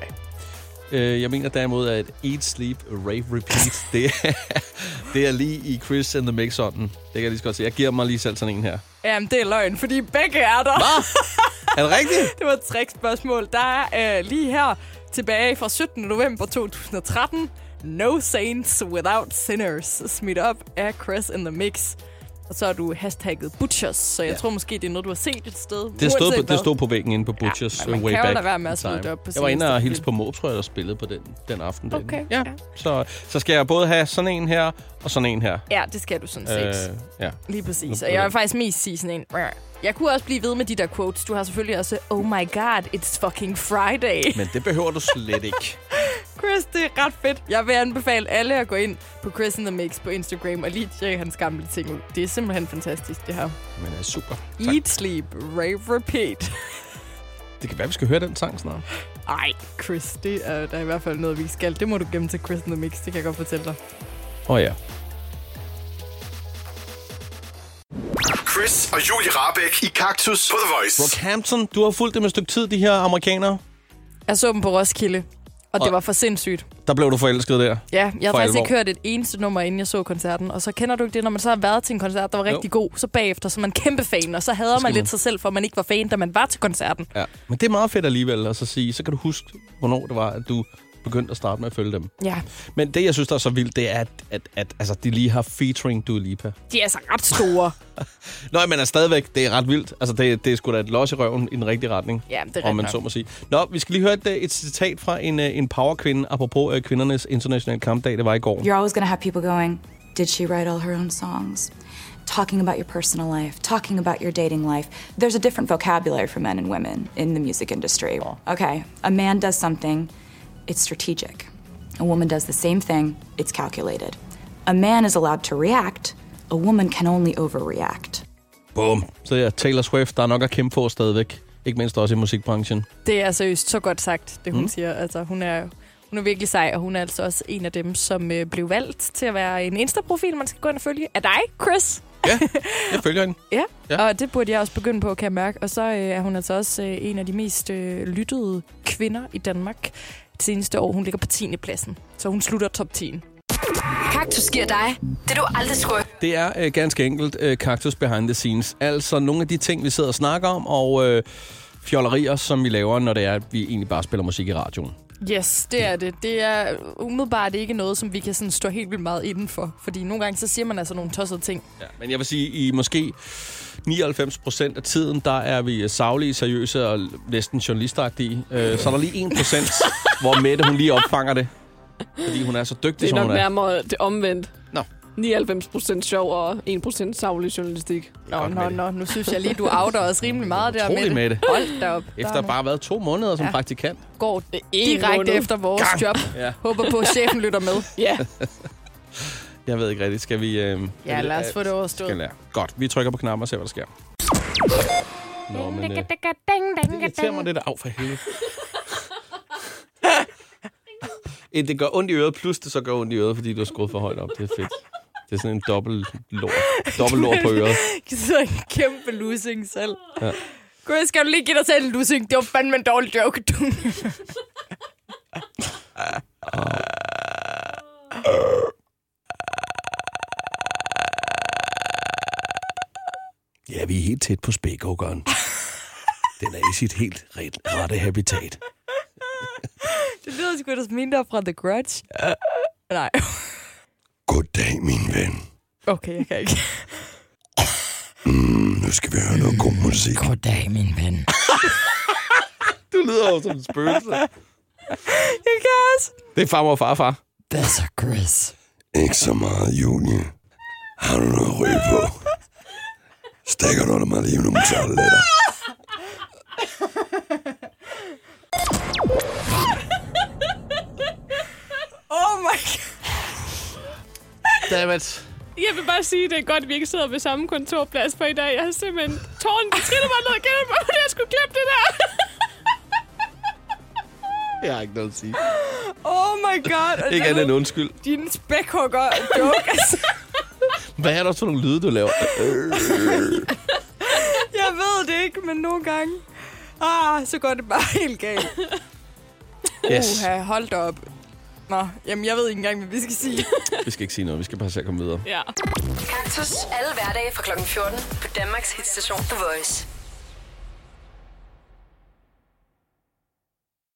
C: Øh, jeg mener derimod, at Eat, Sleep, Rave, Repeat, det er, det er lige i Chris and the mix -on. Det kan jeg lige så godt se. Jeg giver mig lige selv sådan en her.
D: Jamen, det er løgn, fordi begge er der.
C: Er det rigtigt?
D: det var et trickspørgsmål. Der er øh, lige her tilbage fra 17. november 2013. No Saints Without Sinners, smidt op af Chris in the Mix. Og så har du hashtagget Butchers, så jeg ja. tror måske, det er noget, du har set et sted.
C: Det stod,
D: Uanset
C: på,
D: hvad.
C: det stod på væggen inde på Butchers ja,
D: man
C: way
D: kan jo
C: back.
D: lade være med at
C: in
D: smide
C: time.
D: det op på
C: Jeg var
D: sin
C: inde og
D: Instagram.
C: hilse på Måb, tror jeg, der spillede på den, den aften. derinde.
D: Okay,
C: Ja. Så, så skal jeg både have sådan en her, og sådan en her.
D: Ja, det skal du sådan set. Øh,
C: ja.
D: Lige præcis.
C: Nu-
D: Og jeg vil faktisk mest sige sådan en... "Rrr." Jeg kunne også blive ved med de der quotes. Du har selvfølgelig også... Oh my god, it's fucking Friday.
C: Men det behøver du slet ikke.
D: Chris, det er ret fedt. Jeg vil anbefale alle at gå ind på Chris in the Mix på Instagram og lige tjekke hans gamle ting ud. Det er simpelthen fantastisk, det her.
C: Men er super.
D: Eat, sleep, rave, repeat.
C: Det kan være, vi skal høre den sang snart.
D: Ej, Chris, det er der er i hvert fald noget, vi ikke skal. Det må du gemme til Chris in the Mix, det kan jeg godt fortælle dig.
C: Åh oh, ja.
A: Chris og Julie Rabeck i Kaktus på The Voice.
C: Rockhampton, du har fulgt dem et stykke tid, de her amerikanere.
D: Jeg så dem på Roskilde, og, og det var for sindssygt.
C: Der blev du forelsket der.
D: Ja, jeg har
C: For
D: faktisk
C: alvor.
D: ikke hørt et eneste nummer, inden jeg så koncerten. Og så kender du ikke det, når man så har været til en koncert, der var
C: Jo.
D: rigtig god, så bagefter, så er man kæmpe fan, og så hader man,
C: skal
D: man lidt
C: man-
D: sig selv, for at man ikke var fan, da man var til koncerten.
C: Ja. Men det er meget fedt alligevel at så sige, så kan du huske, hvornår det var, at du begyndte at starte med at følge dem.
D: Ja,
C: Men det, jeg synes, der er så vildt, det er, at, at, at altså, de lige har featuring Dua Lipa.
D: de er altså ret store.
C: Nå, men er stadigvæk, det er ret vildt. Altså, det, det er sgu da et los i røven i den rigtige retning.
D: Ja, det er
C: Om man
D: rigtigt
C: så
D: nok.
C: må sige. Nå, vi skal lige høre et, øh, et citat fra en, øh, en powerkvinde, apropos øh, kvindernes internationale kampdag, det var i går.
P: You're always going to have people going, Did she write all her own songs? Talking about your personal life, talking about your dating life. There's a different vocabulary for men and women in the music industry. Okay, a man does something, it's strategic. A woman does the same thing, it's calculated. A man is allowed to react, a woman can only overreact.
C: Boom. Så ja, Taylor Swift, der er nok at kæmpe for stadigvæk. Ikke mindst også i musikbranchen.
D: Det er seriøst så godt sagt, det hun
C: Mm.
D: mm. siger. Altså, hun er, hun er virkelig sej, og hun er altså også en af dem, som øh, blev valgt til at være en Insta-profil, man skal gå ind og følge. Er dig, Chris?
C: Jeg følger hende.
D: Ja.
C: Ja.
D: ja, og det burde jeg også begynde på, kan jeg mærke. Og så øh, er hun altså også øh, en af de mest øh, lyttede kvinder i Danmark det seneste år. Hun ligger på 10. pladsen, så hun slutter top 10.
B: Kaktus giver dig det, du aldrig skulle.
C: Det er øh, ganske enkelt øh, Cactus Behind the Scenes. Altså nogle af de ting, vi sidder og snakker om, og øh, fjollerier, som vi laver, når det er, at vi egentlig bare spiller musik i radioen.
D: Yes, det er det. Det er umiddelbart ikke noget, som vi kan sådan stå helt vildt meget indenfor. Fordi nogle gange, så siger man altså nogle tossede ting.
C: Ja, men jeg vil sige, i måske 99 procent af tiden, der er vi øh, saglige, seriøse og næsten journalistagtige. Øh, så er der lige 1 procent, hvor Mette hun lige opfanger det. Fordi hun er så dygtig,
L: Det er
C: som
L: nok
C: hun er.
L: nærmere det omvendt.
C: Nå.
L: 99% sjov og 1% savlig journalistik.
D: Nå, nå, nå, nu synes jeg lige, du outer os rimelig meget der
C: Utrolig,
D: med
C: Mette.
D: det. Hold da op.
C: Efter
D: Der er
C: bare at have været to måneder som ja.
D: Ja.
C: praktikant.
D: går direkte
L: måned.
D: efter vores
L: Gang.
D: Gang. job.
C: Ja.
D: Ja. Håber på, at chefen lytter med.
L: Ja.
C: Jeg ved ikke rigtigt. Skal vi... Øh,
D: Ja, lad os få det overstået.
C: Skal lære. Godt, vi trykker på knappen og ser, hvad der sker. Nå, men... Øh, det irriterer mig det der. Af for helvede. Eh, det gør ondt i øret, plus det så gør ondt i øret, fordi du har skruet for højt op. Det er fedt. Det er sådan en dobbelt lort, dobbelt lort på øret.
D: Så en kæmpe losing selv.
C: Ja.
D: Gud, skal du lige give dig selv en losing? Det var fandme en dårlig joke, du.
C: Ja, vi er helt tæt på spækhuggeren. Den er i sit helt ret, rette habitat.
D: det lyder sgu da mindre fra The Grudge. Nej.
Q: Goddag, min ven.
D: Okay, jeg kan ikke.
Q: Mm, nu skal vi høre noget god musik. Goddag, min ven.
C: Du lyder jo som en spøgelse.
D: Jeg kan også.
C: Det er farmor og farfar.
Q: Hvad så, Chris? Ikke så meget, Julie. Har du noget at ryge på? Stikker du under mig lige nogle toiletter?
D: Oh my god.
C: Dammit.
L: Jeg vil bare sige, det er godt, at vi ikke sidder ved samme kontorplads for i dag. Jeg har simpelthen tårnet triller mig ned gennem øjnene. Jeg skulle glemme det der.
C: Jeg har ikke noget at sige.
D: Oh my god.
C: Ikke andet end undskyld.
D: altså. Din spækhugger joke.
C: Hvad er der også for nogle lyde, du laver?
D: Jeg ved det ikke, men nogle gange... Ah, så går det bare helt galt.
C: Yes.
D: Uha, hold da op. Nå, jamen jeg ved ikke engang, hvad vi skal sige.
C: vi skal ikke sige noget. Vi skal bare se at komme videre.
D: ja.
B: Kaktus alle hverdage fra kl. 14 på Danmarks hitstation The Voice.